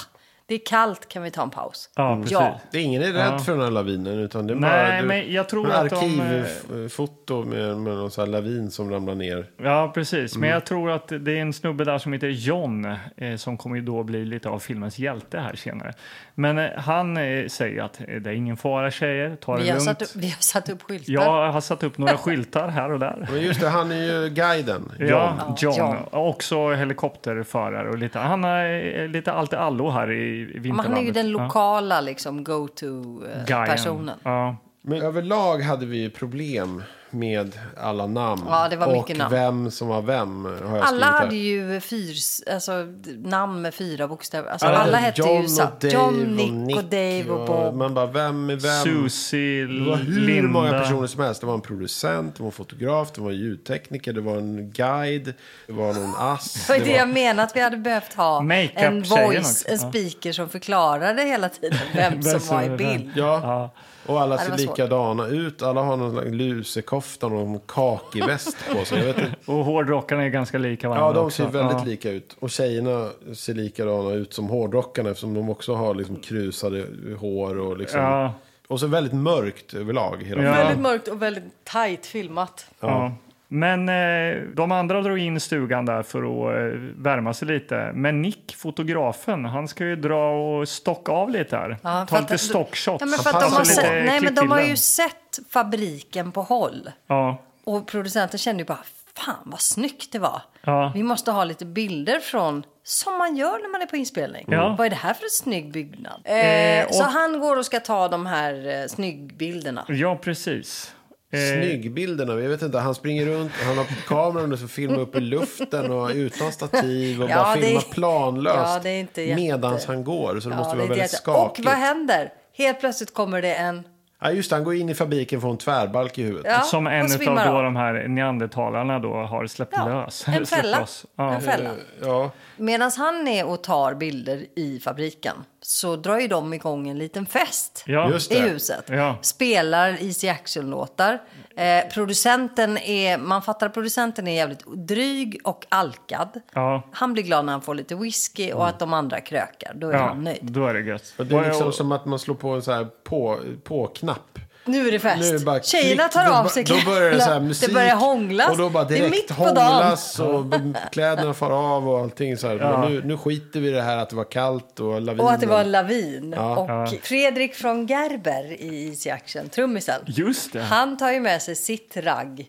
S3: det är kallt, kan vi ta en paus?
S2: Ja, precis.
S1: Det är ingen är rädd för den här lavinen utan det är
S2: Nej,
S1: bara du-
S2: men jag tror
S1: någon
S2: att de, eh,
S1: arkivfoto med, med någon så här lavin som ramlar ner.
S2: Ja, precis. Men jag tror att det är en snubbe där som heter John eh, som kommer ju då bli lite av filmens hjälte här senare. Men eh, han eh, säger att eh, det är ingen fara tjejer, ta det
S3: Vi har,
S2: lugnt.
S3: satt upp, vi har satt upp skyltar.
S2: Jag har satt upp
S3: [LAUGHS]
S2: några skyltar här och där.
S1: Men just det, han är ju guiden. John.
S2: Ja, John.
S3: John.
S2: Också helikopterförare och lite, han är eh, lite allt i allo här i
S3: Men
S2: vinterlandet.
S3: han är ju den
S2: Ja.
S3: lokala liksom,
S2: Guyen.
S3: go-to-personen.
S2: Ja.
S1: Men överlag hade vi ju problem med alla namn.
S3: Ja, det var
S1: och
S3: mycket namn.
S1: vem som var vem har jag
S3: Alla
S1: skrivit här.
S3: hade ju fyrs, alltså, d- namn med fyra bokstäver. Alltså,
S1: Alla
S3: alla,
S1: hade
S3: hette
S1: Äh, John
S3: ju
S1: och
S3: så,
S1: Dave
S3: John,
S1: och
S3: Nick, och Dave och Bob.
S1: Man bara, vem är vem?
S2: Susie,
S1: Det var hur
S2: Linda.
S1: många personer som helst. Det var en producent, det var en fotograf, det var en ljudtekniker, det var en guide, det var någon ass.
S3: [LAUGHS] Det var ju det jag
S1: var-
S3: menar att vi hade behövt ha
S2: Makeup-tjejen
S3: en voice,
S2: också.
S3: en
S2: Ja.
S3: speaker som förklarade hela tiden vem som var i
S2: är vem?
S3: bild.
S1: Ja, och alla
S3: det
S1: ser
S3: var svårt.
S1: likadana ut. Alla har någon slags lusekofta och någon kakiväst på sig. Jag vet inte.
S2: Och hårdrockarna är ganska lika varandra
S1: Ja, de
S2: också.
S1: ser väldigt
S2: Ja.
S1: lika ut. Och tjejerna ser likadana ut som hårdrockarna eftersom de också har liksom krusade hår och liksom...
S2: Ja.
S1: Och så väldigt mörkt överlag. Hela
S2: Ja.
S1: filmen.
S3: Väldigt mörkt och väldigt tajt filmat.
S2: Ja. Men eh, de andra drog in stugan där för att eh, värma sig lite. Men Nick, fotografen, han ska ju dra och stocka av lite här.
S3: Ja, för
S2: Ta
S3: att-
S2: lite stockshots.
S3: Ja, men för
S1: Han
S3: att de har,
S1: passar
S2: lite
S3: sett, nej, men de har ju
S2: klippbilden.
S3: sett fabriken på håll.
S2: Ja.
S3: Och producenten kände ju bara, fan vad snyggt det var.
S2: Ja.
S3: Vi måste ha lite bilder från, som man gör när man är på inspelning.
S2: Ja.
S3: Vad är det här för en snygg byggnad?
S2: Eh,
S3: Så
S2: och-
S3: han går och ska ta de här eh, snyggbilderna.
S2: ja, precis. Eh,
S1: Snyggbilderna, jag vet inte, han springer runt, han har kameran som filmar upp i luften och utan stativ och
S3: Ja,
S1: bara
S3: det-
S1: filmar planlöst
S3: Ja, det är inte jätte-
S1: medans han går. Så det måste
S3: Ja,
S1: vara
S3: det är
S1: väldigt
S3: jätte- och
S1: skakigt.
S3: vad händer? Helt plötsligt kommer det en...
S1: Ja, just det, han går in i fabriken och får en tvärbalk i huvudet.
S3: Ja,
S2: Som
S3: och
S2: en av
S3: svimmar
S2: då de här neandertalarna då har släppt
S3: Ja,
S2: lös. [LAUGHS]
S3: en
S2: Släppt
S3: fälla.
S2: loss. Ja.
S3: En fälla.
S1: Ja.
S3: Medan han är och tar bilder i fabriken så drar ju de igång en liten fest.
S2: Ja.
S1: Just det.
S3: i huset.
S2: Ja.
S3: Spelar Easy Action-låtar. Eh, producenten är, man fattar att producenten är jävligt dryg och alkad.
S2: Ja. Mm.
S3: Han blir glad när han får lite whisky och att de andra krökar. Då är
S2: Ja,
S3: han nöjd.
S2: då är det gött.
S1: Och det är liksom som att man slår på en så här på, på-knapp.
S3: Nu är det fest.
S1: Nu är det bara
S3: Tjejerna
S1: klick,
S3: tar
S1: då
S3: av
S1: ba-
S3: sig
S1: Då börjar det så här
S3: kläderna.
S1: musik.
S3: Det börjar hånglas.
S1: Och då bara
S3: det är
S1: direkt
S3: mitt på dagen.
S1: hånglas
S3: [LAUGHS]
S1: och b- kläderna far av och allting så här. Men nu, nu skiter vi i det här att det var kallt och lavinen.
S3: Och att det var en lavin. och Fredrik från Gerber i Easy Action, trummisen.
S2: Just det.
S3: Han tar ju med sig sitt ragg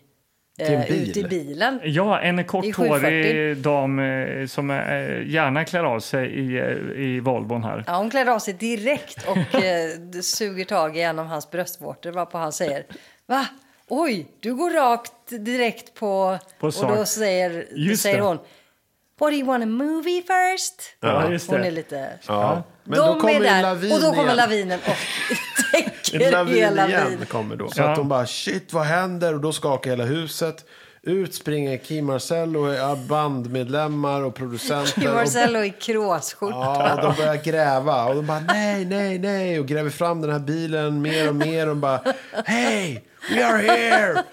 S1: Till en
S3: eh,
S1: bil.
S3: ut i bilen.
S2: Ja, en
S3: I
S2: korthårig
S3: 740.
S2: dam eh, som eh, gärna klär av sig i, eh, i Volvon här.
S3: Ja, hon klär av sig
S1: [LAUGHS]
S3: direkt och eh, d- suger tag i en av hans bröstvårtor varpå han säger Va? Oj, du går rakt direkt på...
S2: På
S3: och då
S2: sak.
S3: säger, då
S2: Just
S3: säger
S2: det.
S3: hon What do you want a movie first?
S2: Ja, just
S3: Hon är
S2: det.
S3: lite...
S1: Ja. Men
S3: De
S1: då kommer
S3: är
S1: ju
S3: där,
S1: lavin
S3: och då kommer
S1: igen.
S3: lavinen
S1: [LAUGHS]
S3: och [LAUGHS]
S1: En
S3: täcker
S1: lavin
S3: hela
S1: igen
S3: bilen.
S1: kommer då. Så
S2: Ja.
S1: att de bara shit vad händer? Och då skakar hela huset. Ut springer Kim Marcello, ja, bandmedlemmar och producenter.
S3: Kim
S1: och-
S3: Marcello i kråsskjorta.
S1: Ja, de börjar gräva och de bara nej, nej, nej och gräver fram den här bilen mer och mer och bara hey, we are here,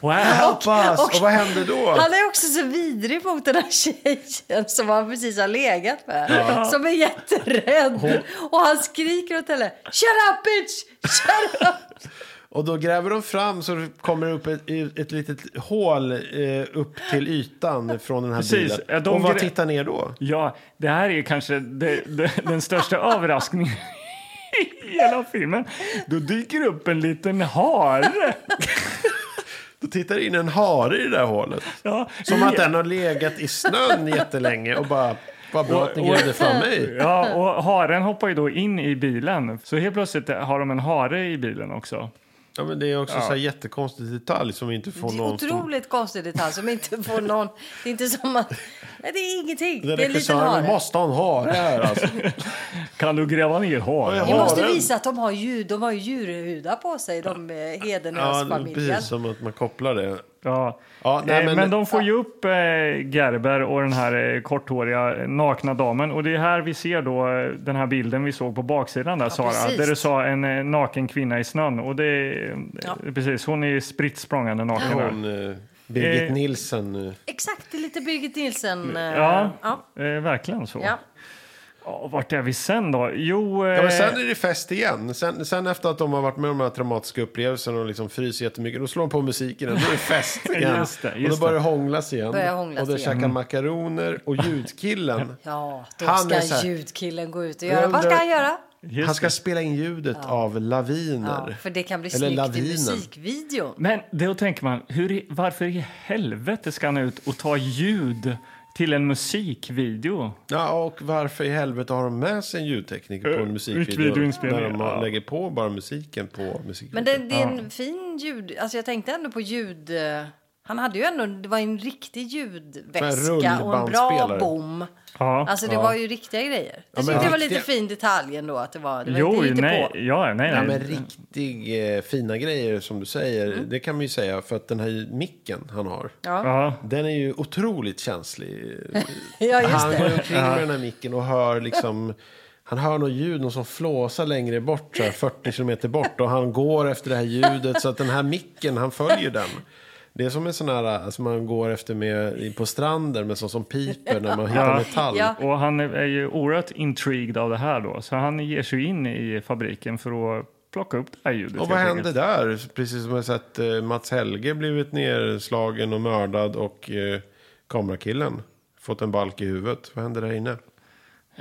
S2: Wow!
S1: help us. Och, vad händer då?
S3: Han är också så vidrig mot den här tjejen som han precis har legat med. Som är jätterädd. Och han skriker åt henne. Shut up bitch!
S1: [LAUGHS]
S3: Shut up!
S1: Och då gräver de fram så det kommer upp ett, ett litet hål eh, upp till ytan från den här
S2: Precis, ja,
S1: bilen.
S2: de
S1: och vad
S2: grä-
S1: tittar ner då?
S2: Ja, det här är kanske det, det, den största överraskningen i hela filmen. Då dyker upp en liten hare.
S1: Då tittar in en hare i det där hålet.
S2: Ja,
S1: Som
S2: i-
S1: att den har legat i snön jättelänge och bara, vad bra att ni
S2: Och- och-
S1: grävde fram mig.
S2: Ja, och haren hoppar ju då in i bilen. Så helt plötsligt har de en hare i bilen också.
S1: Ja, men det är också så här jättekonstig detalj som vi inte får
S3: Det är
S1: någon stor
S3: otroligt konstig detalj som inte får någon... Det är inte som att... Nej, det är ingenting.
S1: Den
S3: Det är en liten
S1: regissören,
S3: hare.
S1: måste han ha det här alltså?
S2: Kan du gräva ner haren?
S1: Ja.
S3: Vi måste
S1: haren.
S3: visa att de har, djur, de har ju djurhudar på sig, de eh,
S1: ja,
S3: hedenhösfamiljen.
S1: precis som att man kopplar det.
S2: Ja.
S1: Ja, nej,
S2: Eh,
S1: men-
S2: men, de får ju upp eh, Gerber och den här eh, korthåriga eh, nakna damen. Och det är här vi ser då eh, den här bilden vi såg på baksidan där, Sara.
S3: precis.
S2: Där du sa en eh, naken kvinna i snön. Och det är,
S3: Ja.
S2: eh, precis, hon är ju spritt språngande naken. där.
S1: Hon, eh, Birgit
S2: Eh.
S1: Nilsen. eh.
S3: Exakt, det är lite Birgit Nielsen. eh,
S2: Ja,
S3: ja.
S2: Eh, verkligen så.
S3: ja.
S2: Ja, vart är vi sen då? Jo,
S1: Ja, men
S2: eh,
S1: sen är det fest igen. Sen, sen efter att de har varit med om de här traumatiska upplevelserna och liksom fryser jättemycket, då slår de på musiken och då är det fest igen.
S2: Just det,
S1: och
S2: just
S1: då börjar det hånglas igen.
S3: Börjar hånglas
S1: och då
S3: igen. Mm.
S1: käkar makaroner och ljudkillen.
S3: Ja, då
S1: Han är så
S3: ska
S1: här-
S3: ljudkillen gå ut och
S1: Jag
S3: göra... Vad ska
S1: undrar-
S3: han göra?
S2: just
S1: Han ska
S2: det.
S1: spela in ljudet av
S3: Ja,
S1: laviner.
S3: för det kan bli
S1: Eller
S3: snyggt i
S1: lavinen. Mm.
S3: musikvideon.
S2: Men då tänker man, hur i, varför i helvete ska han ut och ta ljud till en musikvideo?
S1: Ja, och varför i helvete har de med sig en ljudtekniker på
S2: Eh,
S1: en musikvideo?
S2: musikvideoinspelning,
S1: När de
S2: ja.
S1: lägger på bara musiken på musikvideon.
S3: Men det, det är en fin ljud... Alltså jag tänkte ändå på ljud... eh, Han hade ju ändå... Det var en riktig
S1: För en
S3: ljudväska och en bra
S1: rullbandspelare.
S3: bom.
S2: Ja.
S3: Alltså det var ju riktiga grejer. Jag tyckte
S1: men
S3: det var
S1: riktiga-
S3: lite fin detalj ändå att det var... Det var
S2: Jo,
S3: inte
S2: nej,
S3: på.
S2: ja, nej,
S1: Ja,
S2: nej.
S3: Eh,
S1: men riktig eh, fina grejer som du säger.
S3: Mm.
S1: Det kan man ju säga för att den här micken han har.
S2: Ja,
S1: Den är ju otroligt känslig.
S3: [LAUGHS] [LAUGHS] Ja, just
S1: han
S3: det.
S1: går omkring med den här micken och hör liksom... Han hör något ljud, någon som flåsar längre bort, så här 40 kilometer bort. Och han går efter det här ljudet, så att den här micken, han följer den. Det är som en sån här som alltså man går efter med, på stranden, men som, som piper när man hittar
S2: Ja.
S1: metall.
S3: Ja.
S2: och han är ju oerhört intrigued av det här då, så han ger sig in i fabriken för att plocka upp det här ljudet.
S1: Och vad
S2: helt
S1: hände
S2: enkelt.
S1: där? Precis som jag sett eh, Mats Helge blivit nedslagen och mördad och eh, kamerakillen fått en balk i huvudet. Vad händer där inne?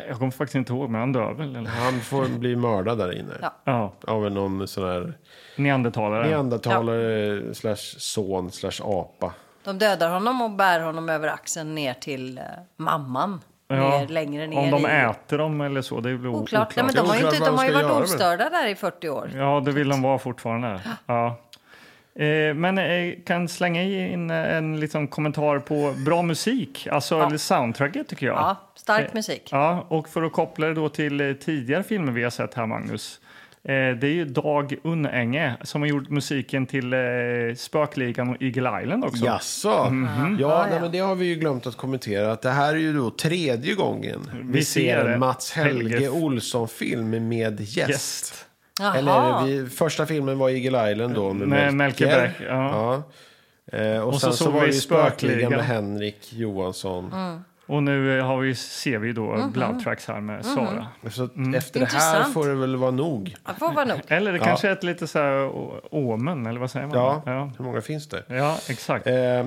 S2: Jag kommer faktiskt inte ihåg, men han dör väl? Eller?
S1: Han får bli mördad där inne.
S3: Ja.
S2: Ja,
S1: Av en någon sån här
S2: neandertalare.
S1: neandertalare slash son slash apa.
S3: De dödar honom och bär honom över axeln ner till eh, mamman.
S2: Ja.
S3: Ner, längre ner
S2: Om de
S3: i...
S2: äter dem eller så, det är väl o-
S3: Oklart.
S2: oklart.
S3: Nej, men de
S1: Det är
S3: har ju,
S1: oklart vad
S3: inte, de
S1: de
S3: har ju
S1: ska göra
S3: varit
S1: med
S3: ostörda där i 40 år.
S2: Ja, det vill de vara fortfarande. Ja. Eh, Men eh, kan slänga in en liten kommentar på bra musik, alltså eller soundtracket tycker jag.
S3: Ja, stark musik.
S2: Eh, Ja, och för att koppla det då till eh, tidigare filmer vi har sett här, Magnus. Eh, det är ju Dag Unnänge som har gjort musiken till eh, Spökligan och Eagle Island också.
S1: Jaså? Mm-hmm. Ja, nej, men det har vi ju glömt att kommentera. Att det här är ju då tredje gången vi, ser
S2: ser det.
S1: en Mats Helge,
S2: Helge.
S1: Olsson-film med gäst.
S2: Gäst.
S3: Jaha.
S1: Eller vi, första filmen var Eagle Island då med,
S2: Med Melker
S1: Melker.
S2: Berg, ja.
S1: Ja. Eh, och,
S2: Och
S1: sen
S2: så
S1: så,
S2: såg
S1: var
S2: vi
S1: det ju Spökligan
S2: Spökligan. Mm.
S1: med Henrik Johansson.
S2: Och nu eh, har vi, ser vi då
S3: Mhm.
S2: Blood Tracks här med Sara.
S1: Så att
S2: Mm.
S1: efter det här
S3: Intressant.
S1: får det väl vara nog.
S3: Ja, får vara nog.
S2: Eller det kanske är ett lite så här å- omen, eller vad säger man?
S1: Ja,
S2: ja.
S1: hur många finns det?
S2: Ja, exakt.
S1: Eh, ja,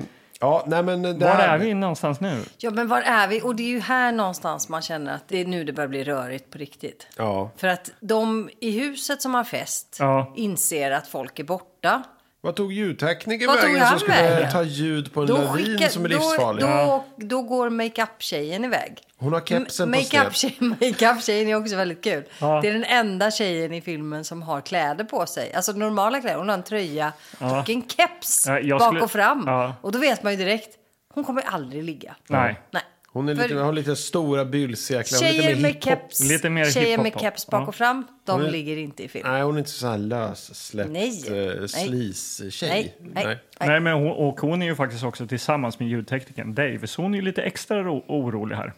S1: nej men det
S2: Var
S1: här-
S2: är vi någonstans nu?
S3: Ja, men var är vi? Och det är ju här någonstans man känner att det är nu det börjar bli rörigt på riktigt.
S1: Ja.
S3: För att de i huset som har fest
S2: Ja.
S3: inser att folk är borta.
S1: Vad tog ljudtekniker
S3: Vad tog
S1: vägen som
S3: han
S1: skulle
S3: vägen?
S1: ta ljud på en
S3: Då,
S1: lavin
S3: skicka,
S1: som är
S3: då,
S1: livsfarlig?
S3: då, då går makeup-tjejen iväg.
S1: Hon har kepsen på sned.
S3: [LAUGHS] Makeup-tjejen makeup är också väldigt kul.
S2: Ja.
S3: Det är den enda tjejen i filmen som har kläder på sig. Alltså normala kläder. Hon har en tröja och en keps
S2: Ja, jag
S3: bak
S2: skulle-
S3: och fram.
S2: Ja.
S3: Och då vet man ju direkt, hon kommer aldrig ligga.
S2: Nej.
S3: Nej.
S1: Hon är lite,
S3: För-
S1: har lite stora bylsiga kläder.
S3: Tjejer
S1: Lite mer
S3: med
S1: hiphop.
S3: keps,
S2: Lite mer
S3: tjejer med
S2: hiphop.
S3: keps bak
S2: Ja.
S3: och fram, de
S1: Hon är-
S3: ligger inte i film.
S1: Nej, hon är inte så här lössläppt
S3: Nej.
S1: eh,
S3: Nej.
S1: sleaze-tjej.
S3: Nej, nej, nej.
S2: Nej, men hon, och hon är ju faktiskt också tillsammans med ljudteknikern Dave, så hon är ju lite extra ro, orolig här.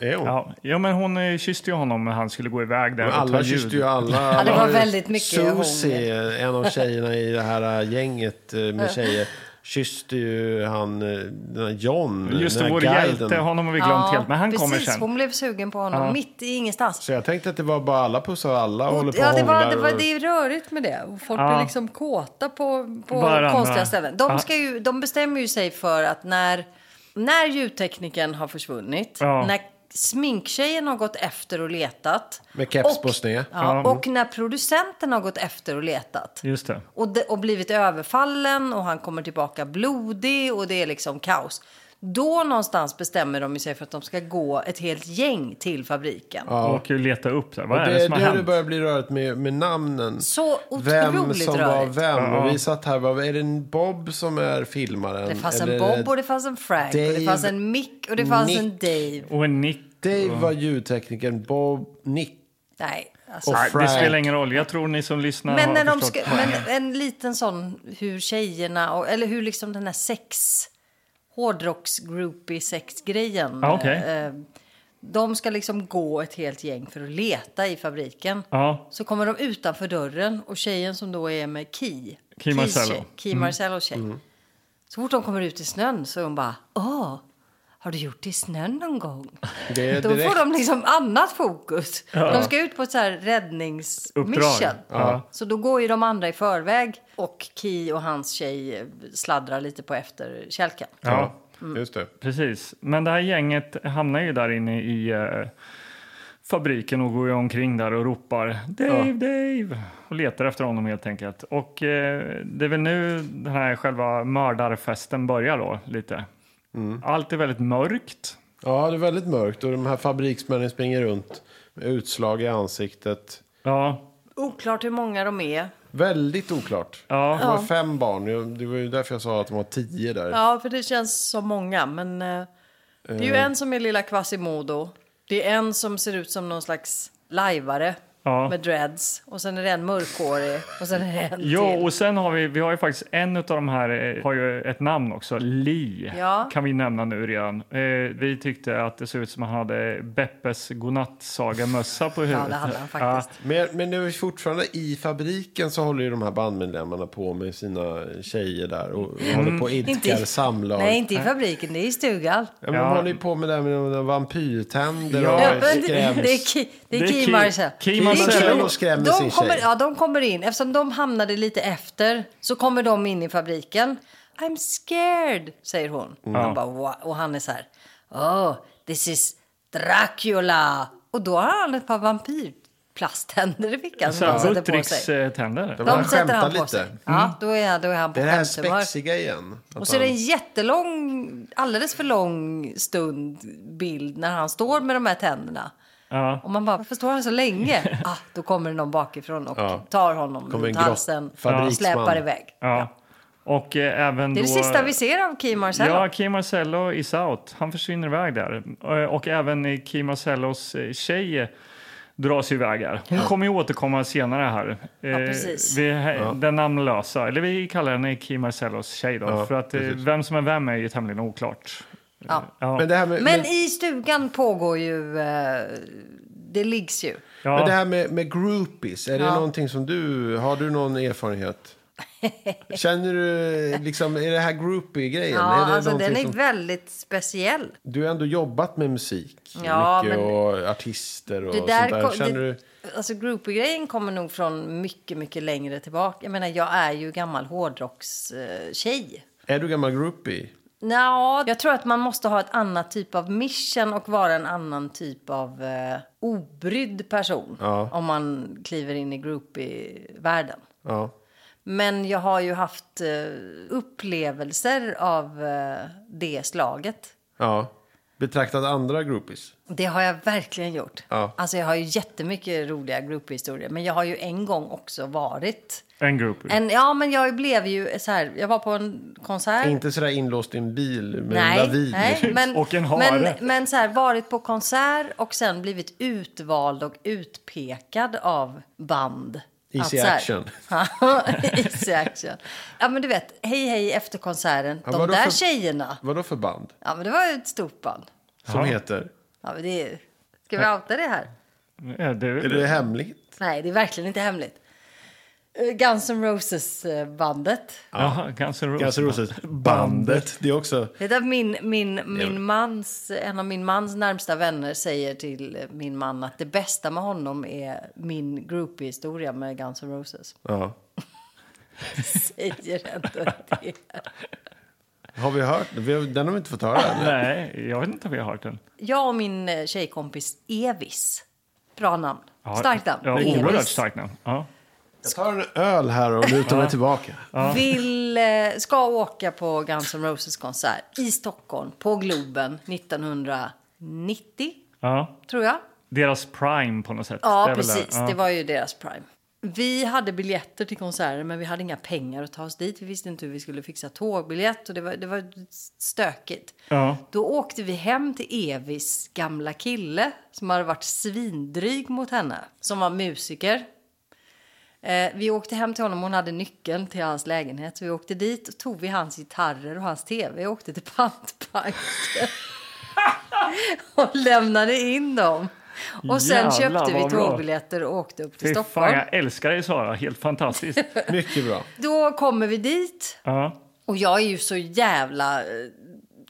S1: Är hon?
S2: Ja, ja, men hon eh, kysste ju honom när han skulle gå iväg där
S1: Men
S2: och ta
S1: alla
S2: ljud.
S1: kysste ju alla.
S3: Ja, det var
S1: alla-
S3: väldigt mycket hon.
S1: Susie, en av tjejerna i det här eh, gänget eh, med tjejer, kysste ju han, eh, den här John,
S2: Just det,
S1: den
S2: vår
S1: här
S2: hjälte, honom har vi glömt helt, men han
S3: precis,
S2: kommer sen.
S3: hon blev sugen på honom mitt i ingenstans.
S1: Så jag tänkte att det var bara alla pussar och alla håller på
S3: ja, det, var,
S1: hånglar
S3: det, var,
S1: och-
S3: det är rörigt med det. Och Folk
S2: Ja.
S3: blir liksom kåta på, på
S2: Varandra.
S3: konstiga ställen. De,
S2: Ja.
S3: ska ju, de bestämmer ju sig för att när, när ljudtekniken har försvunnit,
S2: Ja.
S3: när sminktjejen har gått efter och letat.
S1: Med keps
S3: och,
S1: på sned.
S3: Ja, och när producenten har gått efter och letat.
S2: Just det.
S3: Och, de, och blivit överfallen och han kommer tillbaka blodig och det är liksom kaos. Då någonstans bestämmer de ju sig för att de ska gå ett helt gäng till fabriken.
S2: Och leta upp där. Vad
S1: Och
S2: är det,
S1: det är
S2: som har
S1: nu det
S2: hänt?
S1: börjar bli rörigt med, med namnen.
S3: Så
S1: vem
S3: otroligt
S1: som var
S3: rörigt.
S1: vem. Och vi satt här, vad, är det en Bob som är filmaren?
S3: Det fanns
S1: Eller
S3: en
S1: är
S3: Bob och det fanns en Frank och det
S1: Dave,
S3: fanns en Mick och det fanns
S1: Nick.
S3: en Dave.
S2: Och en nick.
S1: Dave var ljudteknikern, Bob, Nick
S3: Nej, alltså.
S1: och
S2: Nej, det
S1: Frank.
S2: spelar ingen roll. Jag tror ni som lyssnar
S3: Men,
S2: har
S3: när de
S2: förstått.
S3: ska, men en liten sån hur tjejerna, och, eller hur liksom den här sex, hårdrocks-groupie sexgrejen.
S2: Ja, okej.
S3: eh, de ska liksom gå ett helt gäng för att leta i fabriken.
S2: Ja,
S3: Så kommer de utanför dörren och tjejen som då är med Ki. Kis
S2: Marcello. Mm.
S3: tjej, Ki Marcello tjej.
S1: Mm.
S3: Så fort de kommer ut i snön så är hon bara, åh, har du gjort det i snön någon gång?
S1: Det är
S3: Då
S1: direkt.
S3: får de liksom annat fokus. De ska ut på ett så här räddningsmission.
S2: Uppdrag. Ja.
S3: Så då går ju de andra i förväg och Ki och hans tjej sladdrar lite på efterkälken.
S2: ja,
S3: Mm.
S1: Just det.
S2: precis. Men det här gänget hamnar ju där inne i eh, fabriken och går ju omkring där och ropar Dave, Dave! Och letar efter honom helt enkelt. Och eh, det är väl nu den här själva mördarfesten börjar då, lite. Allt är väldigt mörkt.
S1: Ja, det är väldigt mörkt och de här fabriksmännen springer runt med utslag i ansiktet.
S2: Ja,
S3: Oklart hur många de är.
S1: Väldigt oklart.
S2: Ja.
S1: Det var fem barn. Jag- Det var ju därför jag sa att de var tio där.
S3: Ja, för det känns som många. Men eh, det är ju en som är lilla Quasimodo. Det är en som ser ut som någon slags lajvare
S2: Ja.
S3: med dreads. Och sen är det en mörkhårig och sen är det en
S2: Jo,
S3: till.
S2: och sen har vi, vi har ju faktiskt en av de här eh, har ju ett namn också, Li,
S3: Ja.
S2: kan vi nämna nu redan. Eh, vi tyckte att det såg ut som att han hade Beppes godnattsagamössa på huvudet.
S3: Ja, det hade han faktiskt.
S1: Men, men det är ju fortfarande i fabriken så håller ju de här bandmedlemmarna på med sina tjejer där och och håller på och idkar
S3: i-
S1: samlag.
S3: Nej, inte i fabriken, det är i stugan.
S1: Ja, men
S2: Ja.
S1: de håller ju på med det här med de vampyrtänder
S2: Ja,
S3: Ja,
S1: och
S3: men
S1: skräms.
S3: det är Ki, det
S2: Det
S3: är
S2: är
S3: Ki
S2: Ki-
S3: Marcel.
S2: Ki
S3: Det är
S2: Marcel
S3: Ki.
S1: och skrämmer
S3: de
S1: sin
S3: kommer,
S1: tjej.
S3: ja, de kommer in. Eftersom de hamnade lite efter så kommer de in i fabriken. I'm scared, säger hon. Han bara, "Wha-" och han är så här. Oh, this is Dracula. Och då har han ett par vampyrplasttänder i fickan som
S2: Så
S3: han
S2: här, eh,
S3: sätter på sig.
S2: Buttrickständer.
S1: var-
S3: De
S1: Han
S3: sätter han
S1: skämtar
S3: på sig.
S1: lite.
S3: Ja, då är, då är han på
S1: Det är det här
S3: skämthumör.
S1: spexiga igen. Att
S3: Och så är det en
S1: han-
S3: jättelång, alldeles för lång stund bild när han står med de här tänderna.
S2: Ja.
S3: Och man bara, varför står han
S1: [LAUGHS]
S3: så länge? ah, då kommer det någon bakifrån och
S1: Ja.
S3: tar honom
S1: Kommer
S3: runt
S1: en grott-
S3: halsen och
S1: fabriksman.
S3: släpar iväg.
S2: Ja. Och eh, även
S3: Det är det
S2: då...
S3: sista vi ser av Kim Marcello.
S2: Ja, Kim Marcello is out. Han försvinner iväg där. Eh, Och även eh, Kim Marcellos eh, tjej eh, dras iväg här. Hon kommer ju återkomma senare här. Eh,
S3: precis.
S2: Vi, Den namnlösa, eller vi kallar henne Kim Marcellos tjej då.
S1: Ja,
S2: för att eh,
S1: precis.
S2: vem som är vem är ju tämligen oklart.
S3: Ja.
S2: Ja.
S1: Men det här med,
S3: Men
S1: med,
S3: i stugan pågår ju... Eh, det liggs ju.
S2: ja.
S1: men det här med, med groupies, är det
S3: Ja.
S1: någonting som du, har du någon erfarenhet? Känner du, liksom, är det här groupie-grejen?
S3: Ja,
S1: är det
S3: alltså
S1: någonting
S3: den är
S1: som-
S3: väldigt speciell.
S1: Du har ändå jobbat med musik
S3: Ja,
S1: mycket
S3: men-
S1: och artister och
S3: Det
S1: sånt
S3: där,
S1: där.
S3: kom-
S1: Känner
S3: det,
S1: du...
S3: Alltså groupie-grejen kommer nog från mycket, mycket längre tillbaka. Jag menar, jag är ju gammal hårdrockstjej.
S1: Är du gammal groupie?
S3: Nja, jag tror att man måste ha ett annat typ av mission och vara en annan typ av eh, obrydd person
S1: Ja.
S3: om man kliver in i groupie-världen.
S1: Ja.
S3: Men jag har ju haft eh, upplevelser av eh, det slaget.
S1: Ja. Betraktat andra groupies.
S3: Det har jag verkligen gjort.
S1: Ja.
S3: Alltså jag har ju jättemycket roliga grouphistorier. Men jag har ju en gång också varit...
S2: En grupp.
S3: En, ja, men jag blev ju så här... Jag var på en konsert.
S1: Inte sådär inlåst i en bil med en lavin.
S3: nej men,
S2: Och en hare.
S3: men, men så här, varit på konsert och sen blivit utvald och utpekad av band.
S1: Easy
S3: Att så här-
S1: action.
S3: [LAUGHS] Ja, Easy action. Ja, men du vet, hej hej efter konserten.
S1: Ja,
S3: De
S1: vadå
S3: där
S1: för-
S3: tjejerna.
S1: Vadå för band?
S3: Ja, men det var ju ett stort band.
S1: Som heter?
S3: Ja, men det är... Ska vi outa det här?
S2: Ja, det,
S1: Är det hemligt?
S3: Nej, det är verkligen inte hemligt. Eh, Guns N' eh, Roses-bandet.
S2: Jaha, Guns N' Roses.
S1: Guns N' Roses. Bandet. Det är också...
S3: Det är min, min, min mans, en av min mans närmsta vänner säger till eh, min man att det bästa med honom är min groupie-historia med Guns N' Roses.
S1: Ja.
S3: Säger ändå det.
S1: Har vi hört? Vi har, den har vi inte fått höra eller?
S2: Nej, jag vet inte om jag har hört den.
S3: Jag och min eh, tjejkompis Evis. Bra namn.
S2: Ja,
S3: Starkt namn.
S2: Ja,
S3: Evis.
S2: oerhört starkt namn. Ja.
S1: Jag tar en öl här och lutar mig tillbaka.
S3: Vill, eh, ska åka på Guns N' Roses-konsert i Stockholm på Globen 1990,
S2: Ja.
S3: tror jag.
S2: Deras prime på något sätt. Det
S3: Ja,
S2: är väl
S3: precis.
S2: där. Ja.
S3: Det var ju deras prime. Vi hade biljetter till konserter, men vi hade inga pengar att ta oss dit. Vi visste inte hur vi skulle fixa tågbiljett och det var, det var stökigt.
S2: Ja.
S3: Då åkte vi hem till Evis gamla kille som hade varit svindryg mot henne, som var musiker. Eh, vi åkte hem till honom, hon hade nyckeln till hans lägenhet. Så vi åkte dit, och tog vi hans gitarrer och hans tv och åkte till
S2: [LAUGHS]
S3: pantbanken och lämnade in dem. Och sen
S2: Jävlar,
S3: köpte vi
S2: vad bra.
S3: tågbiljetter och åkte upp till
S2: Fy
S3: Stockholm.
S2: fan, jag älskar dig Sara. Helt
S3: [LAUGHS]
S2: fantastiskt.
S1: Mycket bra.
S3: Då kommer vi dit
S2: Ja.
S3: och jag är ju så jävla... eh,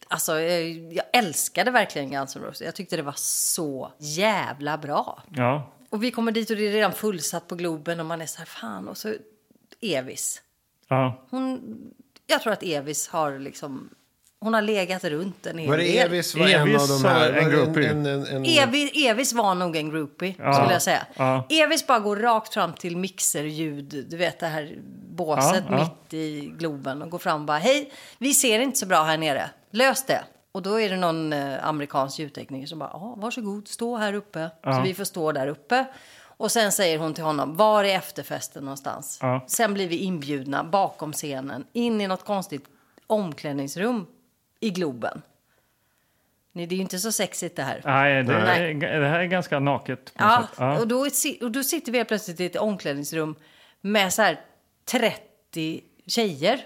S3: Alltså, jag, jag älskade verkligen Guns N' Roses. Jag tyckte det var så jävla bra.
S2: Ja.
S3: Och vi kommer dit och det är redan fullsatt på Globen och man är så här, fan. Och så Evis.
S2: Ja.
S3: Hon, jag tror att Evis har liksom... Hon har legat runt en hel
S1: Var det
S3: del.
S1: Evis var en
S2: Evis
S1: av de
S2: var
S1: här?
S2: en
S1: var det
S2: groupie.
S1: En, en, en,
S3: Evi, Evis var nog en groupie, skulle jag säga.
S2: ja.
S3: Evis bara går rakt fram till mixerljud, du vet det här båset
S2: Ja, ja.
S3: mitt i Globen och går fram och bara hej, vi ser inte så bra här nere, lös det. Och då är det någon eh, amerikansk ljudtekniker som bara, ja varsågod, stå här uppe. Så vi får stå där uppe. Och sen säger hon till honom, var är efterfesten någonstans?
S2: Ja.
S3: Sen blir vi inbjudna bakom scenen, in i något konstigt omklädningsrum i Globen. Nej, det är ju inte så sexigt det här.
S2: Nej, det,
S3: Nej.
S2: det här är ganska naket. på något
S3: Ja,
S2: sätt. Ja.
S3: Och, då, si- och då sitter vi helt plötsligt i ett omklädningsrum med så här 30 tjejer.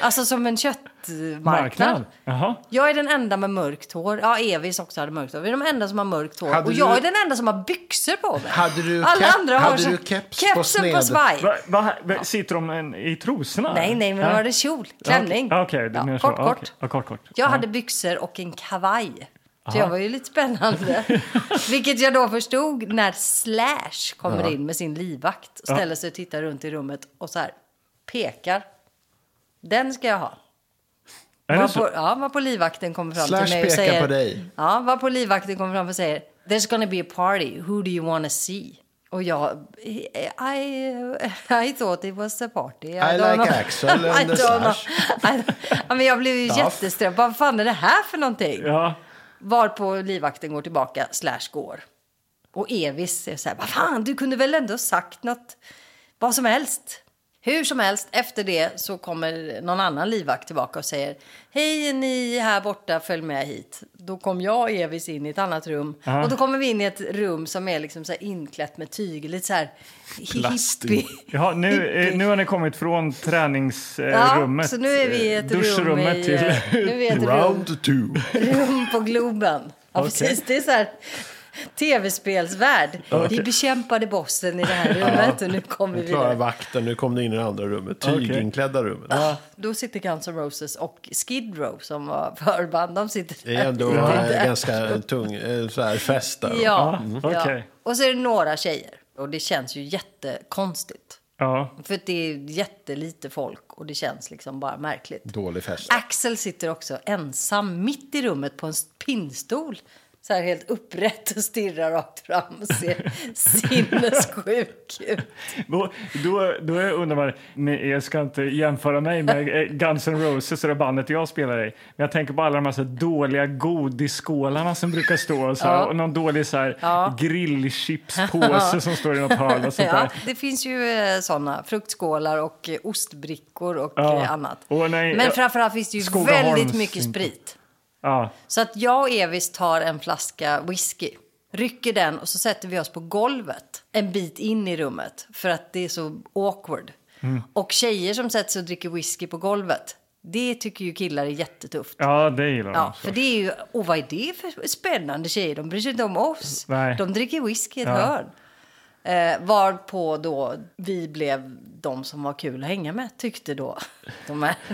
S3: Alltså som en köttmarknad.
S2: Marknad? Jaha.
S3: Jag är den enda med mörkt hår. Ja, Evis också hade mörkt hår. Vi är de enda som har mörkt hår.
S1: Hade
S3: och jag
S1: du-
S3: är den enda som har byxor på mig.
S1: Hade du
S3: Alla
S1: kep-
S3: andra har
S1: hade
S3: så-
S1: du keps på
S3: kepsen på
S1: sned?
S3: svaj.
S2: Va, va, va, sitter de en, i trosorna?
S3: Nej, nej, men då var det kjol, klänning.
S2: Ja, Okej, okay,
S3: Ja,
S2: okay,
S3: kort, kort.
S2: Ja, kort, kort.
S3: Jag
S2: ja.
S3: hade byxor och en kavaj. Så jag var ju lite spännande. Vilket jag då förstod när Slash kommer in med sin livvakt och ställer sig och tittar runt i rummet och så här pekar. Den ska jag ha.
S2: Är det
S3: Var på,
S2: så?
S3: ja, var på livvakten kommer fram
S1: Slash
S3: till mig och
S1: pekar
S3: säger...
S1: på dig.
S3: Ja, var på livvakten kommer fram och säger There's gonna be a party, who do you wanna see? Och jag... I, I thought it was a party. I, don't
S1: like
S3: know.
S1: Axel and
S3: [LAUGHS] I
S1: the
S3: don't
S1: Slash.
S3: know. I, ja, men jag blev ju
S1: Duff.
S3: jättestressad. Vad fan är det här för någonting?
S2: Ja.
S3: Varpå livvakten går tillbaka, slash går. Och Evis är så här, vad fan, du kunde väl ändå sagt något, vad som helst. Hur som helst, efter det så kommer någon annan livvakt tillbaka och säger Hej ni här borta, följ med hit. Då kom jag och Evis in i ett annat rum. Och då kommer vi in i ett rum som är liksom så här inklätt med tyg, lite så här hippie.
S2: Jaha, nu, eh, nu har ni kommit från träningsrummet. Eh,
S3: Ja, så nu är vi i ett rum,
S2: duschrummet
S3: i, eh,
S2: till...
S3: nu är vi i ett rum
S1: Round two.
S3: [LAUGHS] rum på Globen. Ja,
S2: Okej.
S3: precis. Det är så här tv-spelsvärld. Vi bekämpade bossen i det här rummet och nu kommer vi
S1: Klara
S3: vidare.
S1: vakten, nu kom du in i det andra rummet. Tyginklädda rummet.
S3: Då sitter Guns N' Roses och Skid Row som var förband. De sitter
S1: Det är
S2: [LAUGHS]
S1: ändå
S3: där.
S1: eh, ganska mm. tung eh, så här, fest där.
S3: Ja, ja.
S2: okej.
S3: Och så är det några tjejer. Och det känns ju jättekonstigt.
S2: [LAUGHS] ja.
S3: För att det är jättelite folk och det känns liksom bara märkligt.
S1: Dålig fest.
S3: Axel sitter också ensam mitt i rummet på en pinstol. så här helt upprätt och stirrar rakt fram
S2: [LAUGHS]
S3: och ser sinnessjuk ut.
S2: Då, då, då undrar man, nej, jag ska inte jämföra mig med eh, Guns N' Roses och det bandet jag spelar i. Men jag tänker på alla de här, så här dåliga godisskålarna som brukar stå och, så här,
S3: Ja.
S2: och någon dålig så här,
S3: Ja.
S2: grillchipspåse som står i något hörn och sånt
S3: [LAUGHS] Ja,
S2: där.
S3: det finns ju eh, såna fruktskålar och eh, ostbrickor och
S2: Ja.
S3: eh, annat.
S2: Och nej,
S3: Men
S2: jag-
S3: framförallt finns det ju
S2: Skogaholms-
S3: väldigt mycket sprit.
S2: Ja.
S3: Så att jag och Evis tar en flaska whisky, rycker den och så sätter vi oss på golvet en bit in i rummet för att det är så awkward.
S2: Mm.
S3: Och tjejer som sätter sig och dricker whisky på golvet, det tycker ju killar är jättetufft.
S2: ja, det gillar de.
S3: Ja,
S2: så.
S3: för det är ju, och vad är det för spännande tjejer? De bryr sig inte om oss.
S2: Nej.
S3: De dricker whisky i ett
S2: Ja.
S3: hörn. Eh, varpå då vi blev de som var kul att hänga med, tyckte då de här.
S2: [LAUGHS]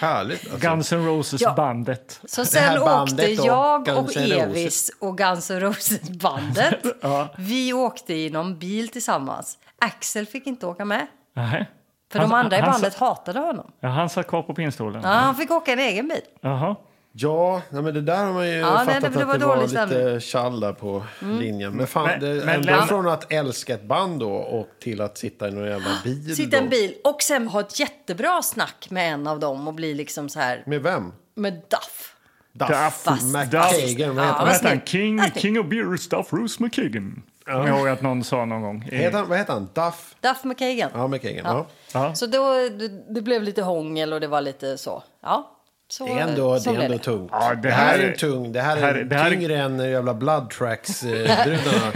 S1: Härligt. Alltså.
S2: Guns N'
S3: Ja.
S2: Roses-bandet.
S3: Så
S1: här
S3: sen åkte
S1: bandet då,
S3: jag
S1: Guns N'
S3: och
S1: Roses.
S3: Evis och Guns
S1: [LAUGHS]
S3: N' Roses-bandet.
S2: Ja.
S3: Vi åkte i någon bil tillsammans. Axel fick inte åka med,
S2: Nej.
S3: för
S2: Han-
S3: de andra i
S2: han-
S3: bandet hatade honom.
S2: Ja, han satt kvar på pinstolen.
S1: Mm.
S3: Ja, han fick åka en egen bil.
S2: Jaha.
S1: Ja, nej, men det där har man ju
S3: nej,
S1: fattat
S3: det- det var
S1: att det var
S3: dålig
S1: lite
S3: stämning. Mm.
S1: tjall där på linjen. Men
S2: Men-
S1: fan, det,
S2: men
S1: ändå
S2: lämna-
S1: från att älska ett band då och till att sitta i någon jävla bil.
S3: Ah, Sitta i en
S1: då.
S3: bil och sen ha ett jättebra snack med en av dem och bli liksom så här
S1: Med vem?
S3: med Duff.
S1: Duff.
S2: Duff.
S1: McKagan, vad
S3: Ja,
S1: heter han?
S2: Vad hette han?
S3: snyggt.
S2: King,
S3: Ja, snyggt.
S2: King of Beer Stuff Bruce McKagan. Kommer jag ihåg att någon sa någon gång. Eh,
S1: Heter han? Vad heter han? Duff?
S3: Duff McKagan.
S1: Ja, McKagan. Ja.
S2: Ja.
S3: Så då, det, det blev lite hångel och det var lite så. Ja, så
S1: Det är ändå, det
S3: så
S1: är
S3: blev
S1: ändå
S3: det.
S1: tungt.
S2: Ja, det
S1: det, här
S2: här
S1: är
S2: är-
S1: en tung. Det här är
S2: här- det här är-
S1: tyngre än jävla blood tracks
S3: [LAUGHS]
S1: eh, brudarna.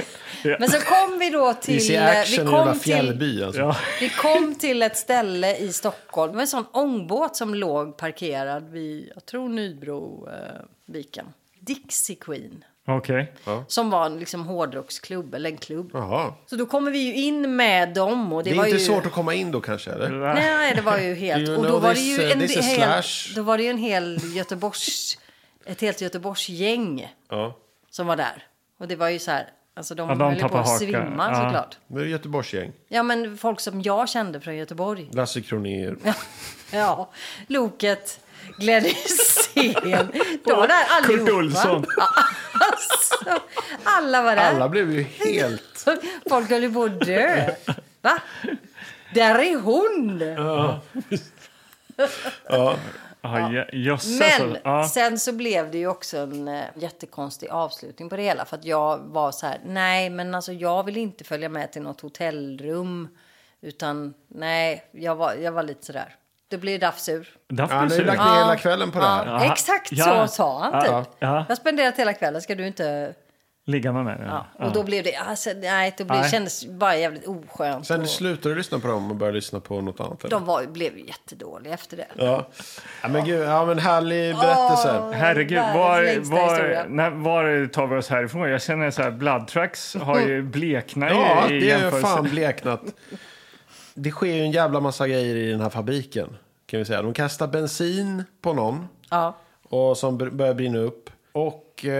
S3: Men så kom vi då
S1: Vi
S3: till... eh,
S1: ser action
S3: vi,
S1: i jävla
S3: kom till
S1: fjällby. Alltså.
S2: Ja.
S3: vi kom till ett ställe i Stockholm. Det var en sån ångbåt som låg parkerad vid, jag tror Nybroviken. Dixie Queen.
S2: Okej.
S3: Som var en liksom hårdrocksklubb, eller en klubb.
S1: Jaha.
S3: Så då kommer vi ju in med dem. Och det
S1: Det är
S3: var
S1: inte
S3: ju...
S1: svårt att komma in då kanske? Eller?
S3: Nej, det var ju helt...
S1: You
S3: Och då
S1: know
S3: var det
S1: this,
S3: ju en,
S1: uh, this is
S3: hel,
S1: Slash.
S3: då var det ju en hel Göteborgs... Ett helt Göteborgsgäng
S1: Ja.
S3: som var där. Och det var ju så här... Alltså de,
S2: Ja, de
S3: höll ju på
S2: tappar
S3: att
S2: hakan.
S3: svimma
S2: Ja.
S3: såklart.
S1: Nu är det Göteborgsgäng.
S3: Ja, men folk som jag kände från Göteborg.
S1: Lasse Kronér.
S3: Ja, Loket,
S2: [LAUGHS]
S3: Glenn Hysén. De var där
S2: Kurt
S3: allihopa.
S2: Olsson.
S3: Ja, [LAUGHS] alltså, alla var där.
S1: Alla blev ju helt...
S3: [LAUGHS] Folk höll ju på att dö. Va? Där är hon!
S2: Ja, ja. Jösses.
S3: Men
S2: alltså. Ja.
S3: sen så blev det ju också en eh, jättekonstig avslutning på det hela. För att jag var så här, nej men alltså jag vill inte följa med till något hotellrum. Utan nej, jag var, jag var lite sådär. Då blir Daff sur.
S2: Duff
S1: Han har
S2: Bruce
S1: ju lagt
S2: är-
S1: ner hela kvällen på det här.
S3: Ja, Exakt
S2: Ja.
S3: så sa han
S2: Ja.
S3: typ.
S2: Ja.
S3: Jag har spenderat hela kvällen, ska du inte...
S2: Ligga med mig.
S3: Ja.
S2: Ja.
S3: Och då blev det, alltså, nej, då blev,
S2: Nej.
S3: kändes bara jävligt oskönt.
S1: Sen
S3: och
S1: slutade du lyssna på dem och började lyssna på något annat? Eller?
S3: de var, blev ju jättedåliga efter det.
S1: Ja. ja, men gud. Ja, men härlig berättelse.
S2: Herregud,
S3: Världens
S2: var,
S3: längsta
S2: var,
S3: historia.
S2: när, var tar vi oss härifrån? Jag känner så här, Blood Tracks har ju bleknat
S1: Mm. Ja,
S2: i, i
S1: det är ju
S2: jämförelse.
S1: fan bleknat. Det sker ju en jävla massa grejer i den här fabriken. Kan vi säga. De kastar bensin på någon
S3: Ja.
S1: och som br- börjar brinna upp. Och... Eh,
S2: Ehm.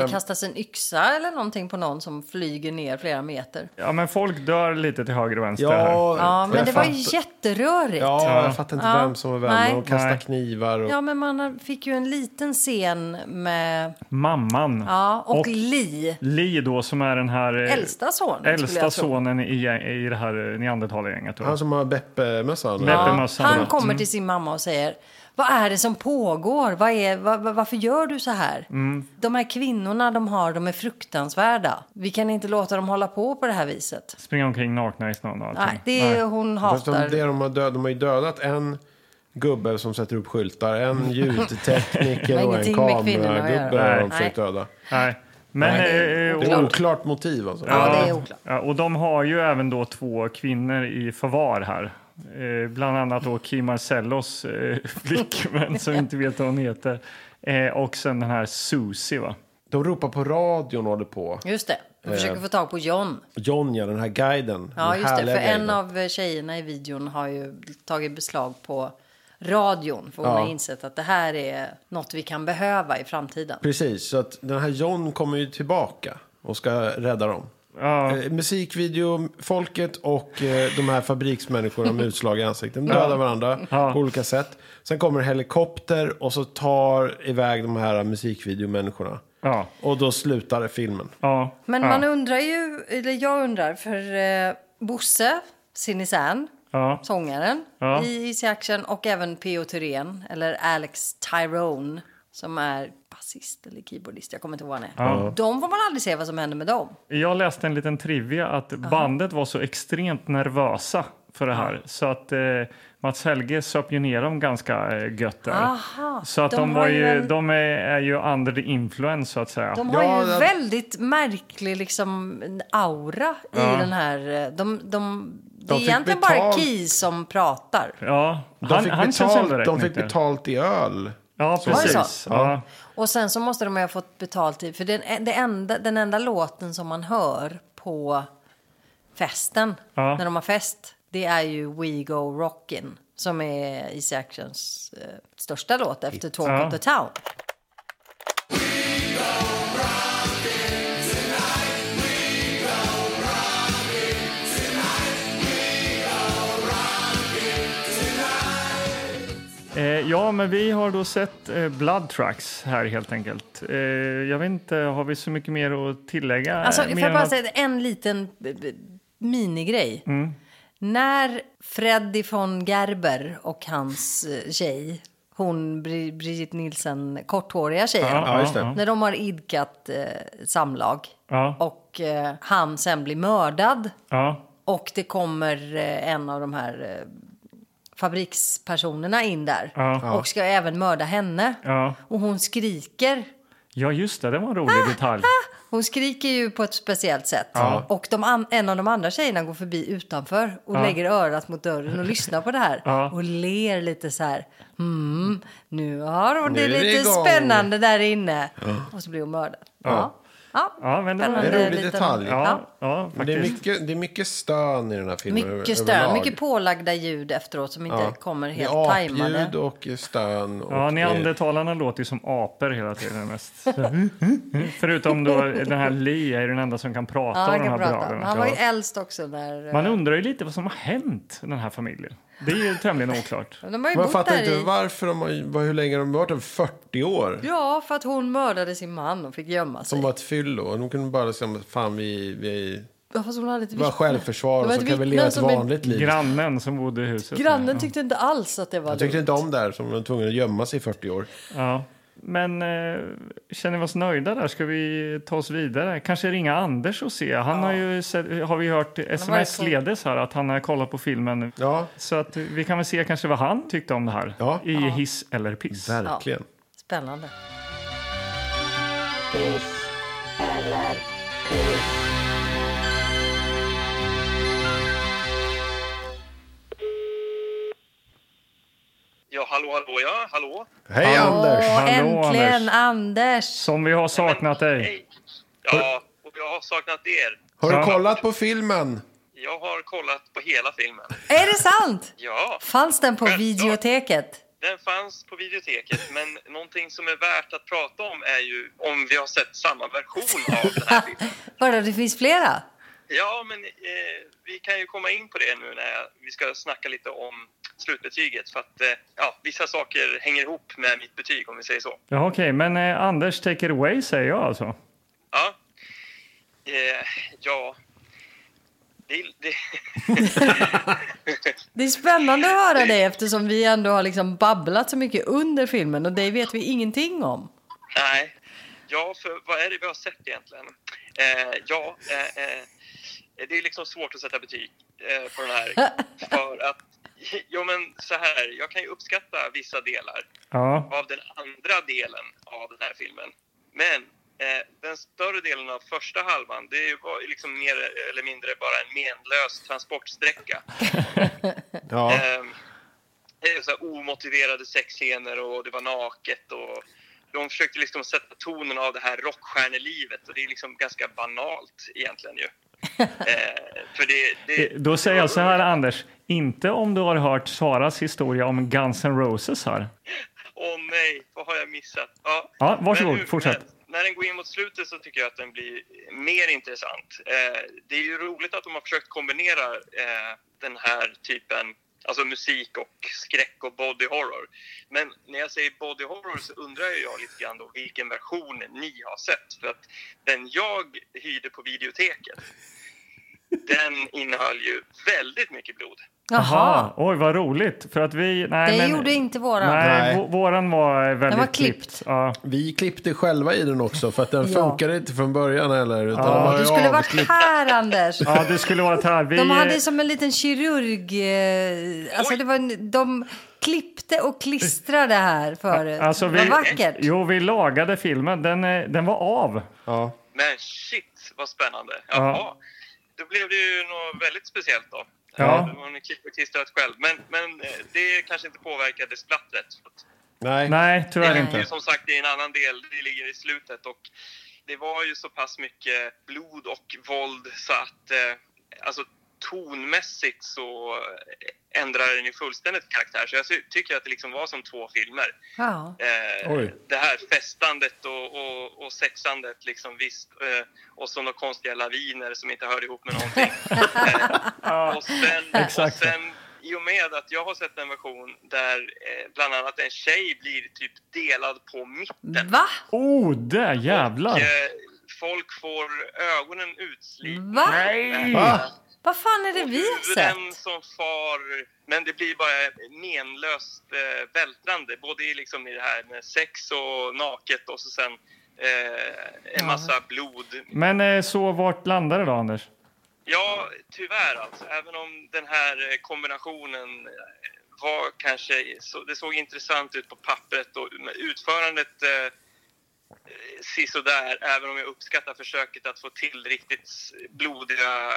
S3: Det kastas en yxa eller någonting på någon som flyger ner flera meter.
S2: Ja, men folk dör lite till höger och vänster. här.
S1: ja,
S3: Ja, men
S1: jag
S3: det var
S1: fatt-
S3: ju jätterörigt. Ja.
S1: Ja, jag fattar inte
S3: Ja.
S1: vem som var vem.
S3: Nej.
S1: De kastar
S2: Nej.
S1: knivar och...
S3: men man fick ju en liten scen med...
S2: Mamman
S3: Ja, och,
S2: och
S3: Li,
S2: Li då, som är den här eh,
S3: äldsta sonen. skulle
S2: äldsta
S3: jag tro.
S2: sonen i, i det här eh, neandertalargänget. då.
S1: Han som har Beppe-mössan.
S2: Beppe.
S3: Ja,
S2: med samma.
S3: han kommer till sin mamma och säger vad är det som pågår? Vad är, va- va- varför gör du så här? De här kvinnorna de har, de är fruktansvärda. Vi kan inte låta dem hålla på på det här viset.
S2: Springa omkring nakna i snön och allting.
S3: Nej, det är, hon
S1: Fast de,
S3: hatar.
S1: det de, har död, de har ju dödat en gubbe som sätter upp skyltar,
S3: [LAUGHS]
S1: en
S3: Det
S1: ljudtekniker
S3: har
S1: och en
S3: ingenting med kvinnorna att göra.
S1: kameragubbe har de
S3: Nej.
S1: försökt döda.
S2: Nej. Men, eh,
S1: Det är oklart motiv alltså.
S3: Ja, det är oklart.
S2: Ja, och de har ju även då två kvinnor i förvar här. Eh, bland annat då Kim Marcellos eh, [LAUGHS] flickvän som inte vet vad hon heter. Eh, och sen den här Susie va?
S1: De ropar på radion och håller på.
S3: Just det, de försöker få tag på John.
S1: John, ja, den här guiden.
S3: Ja,
S1: den
S3: just det,
S1: härliga
S3: för en
S1: guiden.
S3: av tjejerna i videon har ju tagit beslag på radion. För hon
S1: Ja.
S3: har insett att det här är något vi kan behöva i framtiden.
S1: Precis, så att den här John kommer ju tillbaka och ska rädda dem.
S2: Ja.
S1: Eh, musikvideo, folket och eh, de här fabriksmänniskorna med utslag i ansiktet. De dödar varandra
S2: Ja.
S1: på olika sätt. Sen kommer en helikopter och så tar iväg de här musikvideomänniskorna.
S2: Ja,
S1: Och då slutade filmen.
S2: ja.
S3: Men
S2: ja,
S3: man undrar ju, eller jag undrar, för eh, Bosse, Sinisän,
S2: ja.
S3: sångaren
S2: Ja.
S3: i Easy Action och även P.O. Thyrén, eller Alex Tyrone som är basist eller keyboardist, jag kommer inte ihåg vad han är. De får man aldrig se vad som händer med dem.
S2: Jag läste en liten trivia att bandet var så extremt nervösa för det här så att eh, Mats Helge söp ju ner dem ganska eh, gött där.
S3: Aha,
S2: så att de,
S3: de har
S2: var
S3: ju
S2: ju,
S3: en-
S2: de är, är ju under the influence så att säga.
S3: De har
S1: Ja,
S3: ju en
S1: ja.
S3: väldigt märklig liksom, aura i den här... eh, De, de, det är
S1: fick
S3: egentligen bara
S1: betalt.
S3: Key som pratar.
S2: Ja,
S1: De
S2: han,
S1: fick,
S2: han känns ändå
S1: betalt,
S2: rätt
S1: de fick
S2: nykter.
S1: betalt i öl.
S2: Ja,
S1: Så-
S2: precis.
S1: så.
S2: Ja.
S3: Och sen så måste de ju ha fått betalt i... För den, det enda, den enda låten som man hör på festen,
S2: Ja.
S3: när de har fest, det är ju We Go Rockin' som är Easy Actions eh, största låt efter Talk
S2: Ja.
S3: of the Town.
S2: Eh, ja, men vi har då sett eh, Blood Tracks här helt enkelt. Eh, jag vet inte, har vi så mycket mer att tillägga?
S3: Alltså,
S2: Eh,
S3: får
S2: mer
S3: jag
S2: än
S3: bara
S2: att-
S3: säga en liten b- b- minigrej?
S2: Mm.
S3: När Freddy von Gerber och hans eh, tjej, hon Bri- Brigitte Nielsen, korthåriga tjejen,
S2: Ja,
S1: Ja, just det.
S2: ja,
S3: när de har idkat eh, samlag
S2: Ja.
S3: och eh, han sen blir mördad
S2: ja.
S3: och det kommer eh, en av de här eh, fabrikspersonerna in där
S2: Ja.
S3: och ska även mörda henne.
S2: Ja.
S3: Och hon skriker
S2: ja, just det, det var en
S3: Ah,
S2: rolig detalj.
S3: Hon skriker ju på ett speciellt sätt. Och de an- en av de andra tjejerna går förbi utanför och lägger örat mot dörren och lyssnar på det här.
S2: Ja.
S3: Och ler lite så här. Mm, nu har hon det
S1: Nu är det
S3: lite
S1: igång."
S3: spännande där inne. Och så blir hon mördad. Ja. Ja.
S2: Ja, men det var-
S3: Spännande
S1: Det är en rolig
S3: liten-
S1: detalj.
S2: Ja, ja
S1: Men Det är,
S2: faktiskt.
S1: mycket, det är mycket stön i den här filmen. över-
S3: Mycket stön,
S1: överlag.
S3: mycket pålagda ljud efteråt som inte kommer
S1: Det är
S3: helt tajmade.
S1: apljud och stön. Och
S2: Ja,
S1: eh,
S2: neandertalarna låter ju som apor hela tiden mest. Förutom då den här Lee är den enda som kan prata
S3: Ja,
S2: av
S3: han
S2: de här
S3: kan prata.
S2: bröderna.
S3: Han var ju äldst också när...
S2: Man undrar ju lite vad som har hänt den här familjen. Det är ju tämligen oklart.
S3: De har ju
S1: Man
S3: bott
S1: fattar
S3: där
S1: inte
S3: i...
S1: varför de har, vad- hur länge de har varit där, 40 år.
S3: Ja, för att hon mördade sin man och fick gömma sig.
S1: Som var ett fyllo. De kunde bara säga, fan vi, vi
S3: Ja, fast hon hade ett
S1: det var
S3: vittne.
S1: självförsvar
S3: Det var
S1: och så
S3: ett
S1: kan vi
S3: vittne
S1: leva ett
S3: som en-
S1: vanligt liv.
S2: Grannen som bodde i huset.
S3: Grannen tyckte inte alls att det var
S1: Jag tyckte
S3: lugnt.
S1: inte om det här som var tvungen att gömma sig i 40 år.
S2: Ja. Men eh, känner vi oss nöjda där? Ska vi ta oss vidare? Kanske ringa Anders och se. Han har ju sett, har vi hört sms-ledes här att han har kollat på filmen.
S1: Ja,
S2: Så att vi kan väl se kanske vad han tyckte om det här
S1: Ja.
S2: i hiss eller piss.
S1: verkligen.
S3: Spännande.
S4: Ja, hallå, hallå, ja, hallå.
S1: Hej Anders!
S3: Åh,
S2: Hallå,
S3: äntligen
S2: Anders.
S3: Anders!
S2: Som vi har saknat dig.
S4: Hej. Ja, och jag har saknat er.
S1: Har du
S2: Ja.
S1: kollat på filmen?
S4: Jag har kollat på hela filmen.
S3: Är det sant?
S4: Ja,
S3: Fanns den på
S4: Självklart.
S3: videoteket?
S4: den fanns på videoteket, men någonting som är värt att prata om är ju om vi har sett samma version av den här
S3: [LAUGHS]
S4: filmen.
S3: Vadå, det finns flera?
S4: Ja, men eh, vi kan ju komma in på det nu när jag, vi ska snacka lite om slutbetyget för att eh, ja, vissa saker hänger ihop med mitt betyg om vi säger så.
S2: Ja, Okej, men eh, Anders, take it away säger jag alltså.
S4: Ja, eh, ja. Det, det,
S3: Det är spännande att höra dig eftersom vi ändå har liksom babblat så mycket under filmen och det vet vi ingenting om.
S4: Nej. Ja, för vad är det vi har sett egentligen? Eh, ja, eh, eh, det är liksom svårt att sätta betyg eh, på den här. För att, jo men så här, jag kan ju uppskatta vissa delar
S2: Ja,
S4: av den andra delen av den här filmen. Men eh, den större delen av första halvan, det är ju bara- liksom mer eller mindre bara en menlös transportsträcka.
S1: Ja.
S4: Ehm, det är så här omotiverade sexscener och det var naket och de försökte liksom sätta tonen av det här rockstjärnelivet och det är liksom ganska banalt egentligen
S2: [LAUGHS]
S4: ju. Ehm, för det, det,
S2: Eh, då säger jag så här Anders, inte om du har hört Saras historia om Guns N' Roses här.
S4: Åh nej, vad har jag missat? Ja,
S2: Ja, varsågod,
S4: hur-
S2: fortsätt.
S4: När, när den går in mot slutet så tycker jag att den blir mer intressant. Eh, det är ju roligt att de har försökt kombinera eh, den här typen Alltså musik och skräck och body horror. Men när jag säger body horror så undrar ju jag lite grann då vilken version ni har sett. För att den jag hyrde på videoteket, den innehöll ju väldigt mycket blod.
S2: Aha.
S3: Jaha.
S2: Oj, vad roligt. För att vi... Nej,
S3: Det
S2: men,
S3: gjorde inte våran.
S2: Nej,
S1: Nej.
S2: vå- våran var eh, väldigt
S3: var
S2: klippt.
S3: klippt.
S2: Ja.
S1: Vi klippte själva i den också för att den
S3: Ja.
S1: funkade inte från början heller. Utan den var
S3: Du
S1: ju
S3: skulle varit
S1: avklippt.
S3: här, Anders.
S2: ja, du skulle varit här. Vi,
S3: De
S2: eh,
S3: hade som en liten kirurg... eh, Alltså det var, en- de klippte och klistrade här förut.
S2: Alltså, vi,
S3: Vad vackert.
S2: Jo, vi lagade filmen. Den, eh, den var av.
S1: Ja.
S4: Men shit vad spännande! Jaha. Då blev det ju något väldigt speciellt då.
S2: Ja.
S4: Eh, Och ni klipper klistrat själv. Men, men eh, det kanske inte påverkade splattret.
S1: Nej.
S2: Nej, tyvärr
S4: ligger
S2: inte.
S4: ju som sagt i en annan del, det ligger i slutet. Och det var ju så pass mycket blod och våld så att eh, alltså, tonmässigt så eh, ändrar den ju fullständigt karaktär. Så jag ty- tycker att det liksom var som två filmer.
S3: Ja.
S4: Eh,
S1: Oj.
S4: det här festandet och, och, och sexandet liksom visst. Eh, och så några konstiga laviner som inte hörde ihop med någonting. eh, och sen, och
S2: Exakt.
S4: sen i och med att jag har sett en version där eh, bland annat en tjej blir typ delad på mitten.
S3: Va?
S2: Oh, där jävlar!
S4: Eh, folk får ögonen utslitna.
S3: Va?
S2: Nej!
S1: Va?
S3: Vad fan är det vi har
S4: Huvuden
S3: sett?
S4: som far, men det blir bara menlöst eh, vältrande. Både i, liksom, i det här med sex och naket och så sen eh, en massa blod.
S2: Men eh, så vart landade det då, Anders?
S4: Ja, tyvärr alltså. Även om den här eh, kombinationen eh, var kanske, så, det såg intressant ut på pappret och men utförandet eh, eh, sisådär. Även om jag uppskattar försöket att få till riktigt s- blodiga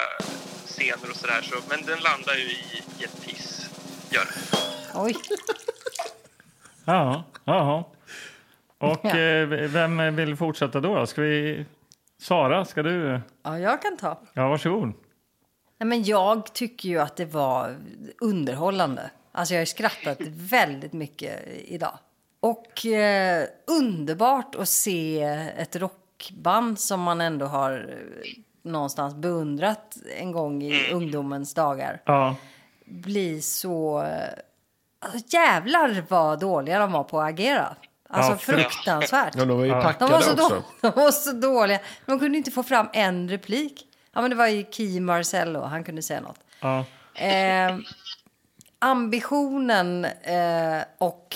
S4: scener och sådär. Så, men den landar ju i, i ett piss. Gör den.
S3: Oj.
S2: Ja, ja. Och
S3: Ja.
S2: eh, vem vill fortsätta då? då? Ska vi... Sara, ska du?
S3: Ja, jag kan ta.
S2: Ja, varsågod.
S3: Nej, men jag tycker ju att det var underhållande. Alltså jag har ju skrattat väldigt mycket idag. Och eh, underbart att se ett rockband som man ändå har eh, någonstans beundrat en gång i ungdomens dagar
S2: Ja.
S3: bli så... eh, Alltså, jävlar vad dåliga de var på att agera. Alltså
S2: Ja, för-
S3: fruktansvärt.
S1: Ja, de var ju
S3: De
S1: packade
S3: var, så
S1: också.
S3: då, de var så dåliga. De kunde inte få fram en replik. Ja, men det var ju Key Marcello, han kunde säga något.
S2: ja.
S3: Eh, ambitionen eh, och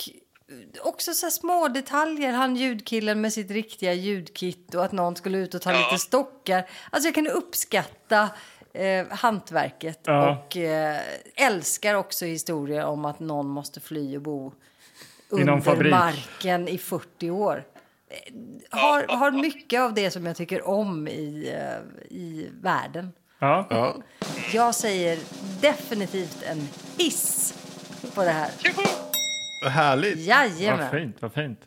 S3: också så här små detaljer. Han ljudkillen med sitt riktiga ljudkit och att någon skulle ut och ta
S4: Ja.
S3: lite stockar. Alltså jag kan uppskatta eh, hantverket
S2: Ja.
S3: och eh, älskar också historier om att någon måste fly och bo
S2: I någon
S3: under
S2: fabrik.
S3: marken i 40 år. Eh, Har, har mycket av det som jag tycker om i, eh, i världen.
S2: ja.
S1: Ja.
S3: Jag säger definitivt en hiss på det här.
S1: Vad Härligt.
S2: Vad
S3: Jajamän.
S2: fint, vad fint.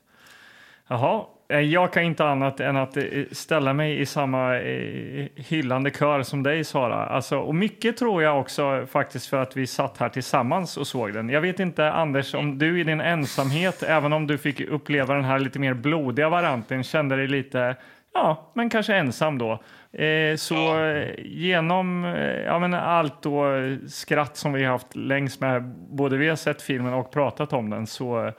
S2: Jaha. Eh, Jag kan inte annat än att eh, ställa mig i samma eh, hyllande kör som dig, Sara. Alltså, och mycket tror jag också faktiskt för att vi satt här tillsammans och såg den. Jag vet inte, Anders, om du i din ensamhet, även om du fick uppleva den här lite mer blodiga varianten, kände dig lite, ja, men kanske ensam då. Eh, så eh, genom eh, ja, men allt då, eh, skratt som vi har haft längs med, både vi har sett filmen och pratat om den, så eh,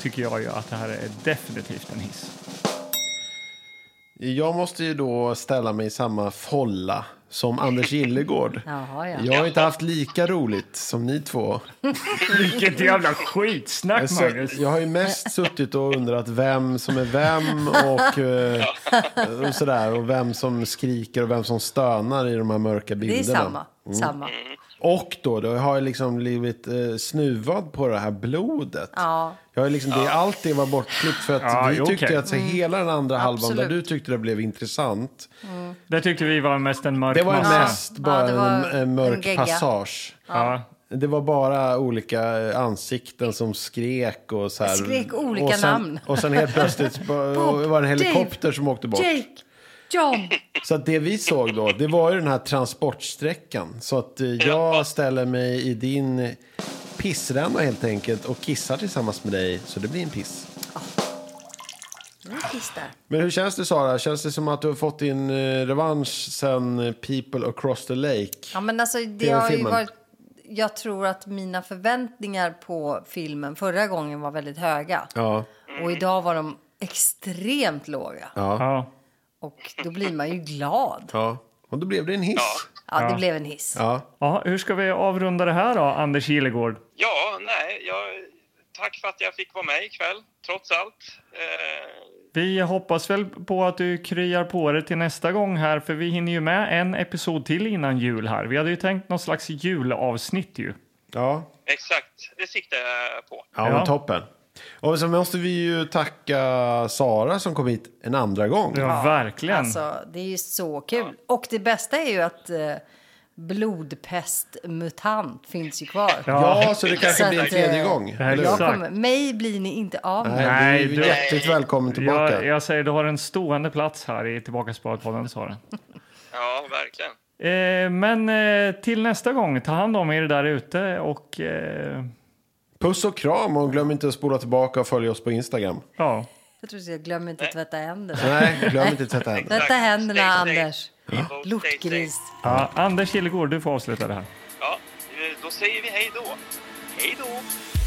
S2: tycker jag ju att det här är definitivt en hiss.
S1: Jag måste ju då ställa mig i samma folla som Anders Gillegård.
S3: [LAUGHS] Jaha, ja.
S1: Jag har inte haft lika roligt som ni två.
S2: Vilket jävla skitsnack,
S1: Så jag har ju
S3: [LAUGHS]
S1: mest suttit och undrat vem som är vem och,
S3: [LAUGHS]
S1: eh, och sådär. Och vem som skriker och vem som stönar i de här mörka
S3: Det är
S1: bilderna. Mm.
S3: samma. Samma.
S1: Och då, då har jag liksom blivit eh, snuvad på det här blodet.
S3: Ja.
S1: Jag har liksom, det, allt det var bortklippt för att
S2: Ja,
S1: vi
S2: jo,
S1: tyckte
S2: okej.
S1: att så, hela den andra halvan där
S3: Mm. Absolut.
S1: du tyckte det blev intressant.
S2: Det tyckte vi var mest en mörk
S1: Det var
S2: massa.
S1: mest
S3: Ja,
S1: bara
S3: det var
S1: en, en
S3: en
S1: mörk
S3: gegga.
S1: passage.
S2: Ja.
S1: Det var bara olika eh, ansikten som skrek och så här.
S3: Skrek olika
S1: och sen,
S3: namn.
S1: Och sen helt
S3: [LAUGHS]
S1: plötsligt bara-
S3: Bob,
S1: och var det en helikopter som åkte bort.
S3: Jake, John.
S1: Så att det vi såg då, det var ju den här transportsträckan. Så att eh, jag ställer mig i din pissränna helt enkelt och kissar tillsammans med dig. Så det blir en piss.
S3: Nu kissar.
S1: Men hur känns det Sara? Känns det som att du har fått din eh, revansch sen eh, People Across the Lake?
S3: Ja, men alltså, det har ju
S1: TV-filmen.
S3: varit jag tror att mina förväntningar på filmen förra gången var väldigt höga.
S1: Ja.
S3: Och idag var de extremt låga.
S2: Ja.
S3: Och då blir man ju glad.
S1: ja. Och då blev det en hiss.
S3: Ja, det blev en hiss.
S1: Ja.
S2: Ja, hur ska vi avrunda det här då, Anders Gillegård?
S4: Ja, nej, jag, tack för att jag fick vara med ikväll, trots allt. Eh,
S2: Vi hoppas väl på att du kryar på det till nästa gång här, för vi hinner ju med en episod till innan jul här. Vi hade ju tänkt någon slags julavsnitt ju.
S1: Ja.
S4: exakt, det siktar jag på.
S1: Ja,
S2: Ja.
S1: men toppen. Och så måste vi ju tacka Sara som kom hit en andra gång.
S2: Ja, verkligen.
S3: Alltså, det är ju så kul. Och det bästa är ju att eh, blodpestmutant finns ju kvar.
S1: Ja, så det kanske
S3: Så
S1: blir en
S3: att, eh,
S1: tredje gång.
S2: här är
S1: eller hur?
S3: Jag
S2: exakt.
S3: kommer, mig blir ni inte av med.
S1: Nej, du är
S2: Nej, du-
S1: hjärtligt välkommen tillbaka.
S2: jag, jag säger, du har en stående plats här i Tillbaka Sparat-podden, Sara.
S4: Ja, verkligen.
S2: Eh, men eh, till nästa gång, ta hand om er där ute och eh,
S1: Puss och kram och glöm inte att spola tillbaka och följa oss på Instagram.
S2: ja.
S3: Jag tror att jag glömmer inte att tvätta händerna.
S1: Nej, glöm inte att tvätta händerna.
S3: Tvätta händerna,
S4: Stay safe.
S3: Anders. Lortgris.
S2: ja. Anders Gillegård, du får avsluta det här.
S4: Ja, eh, då säger vi hej då. Hej då!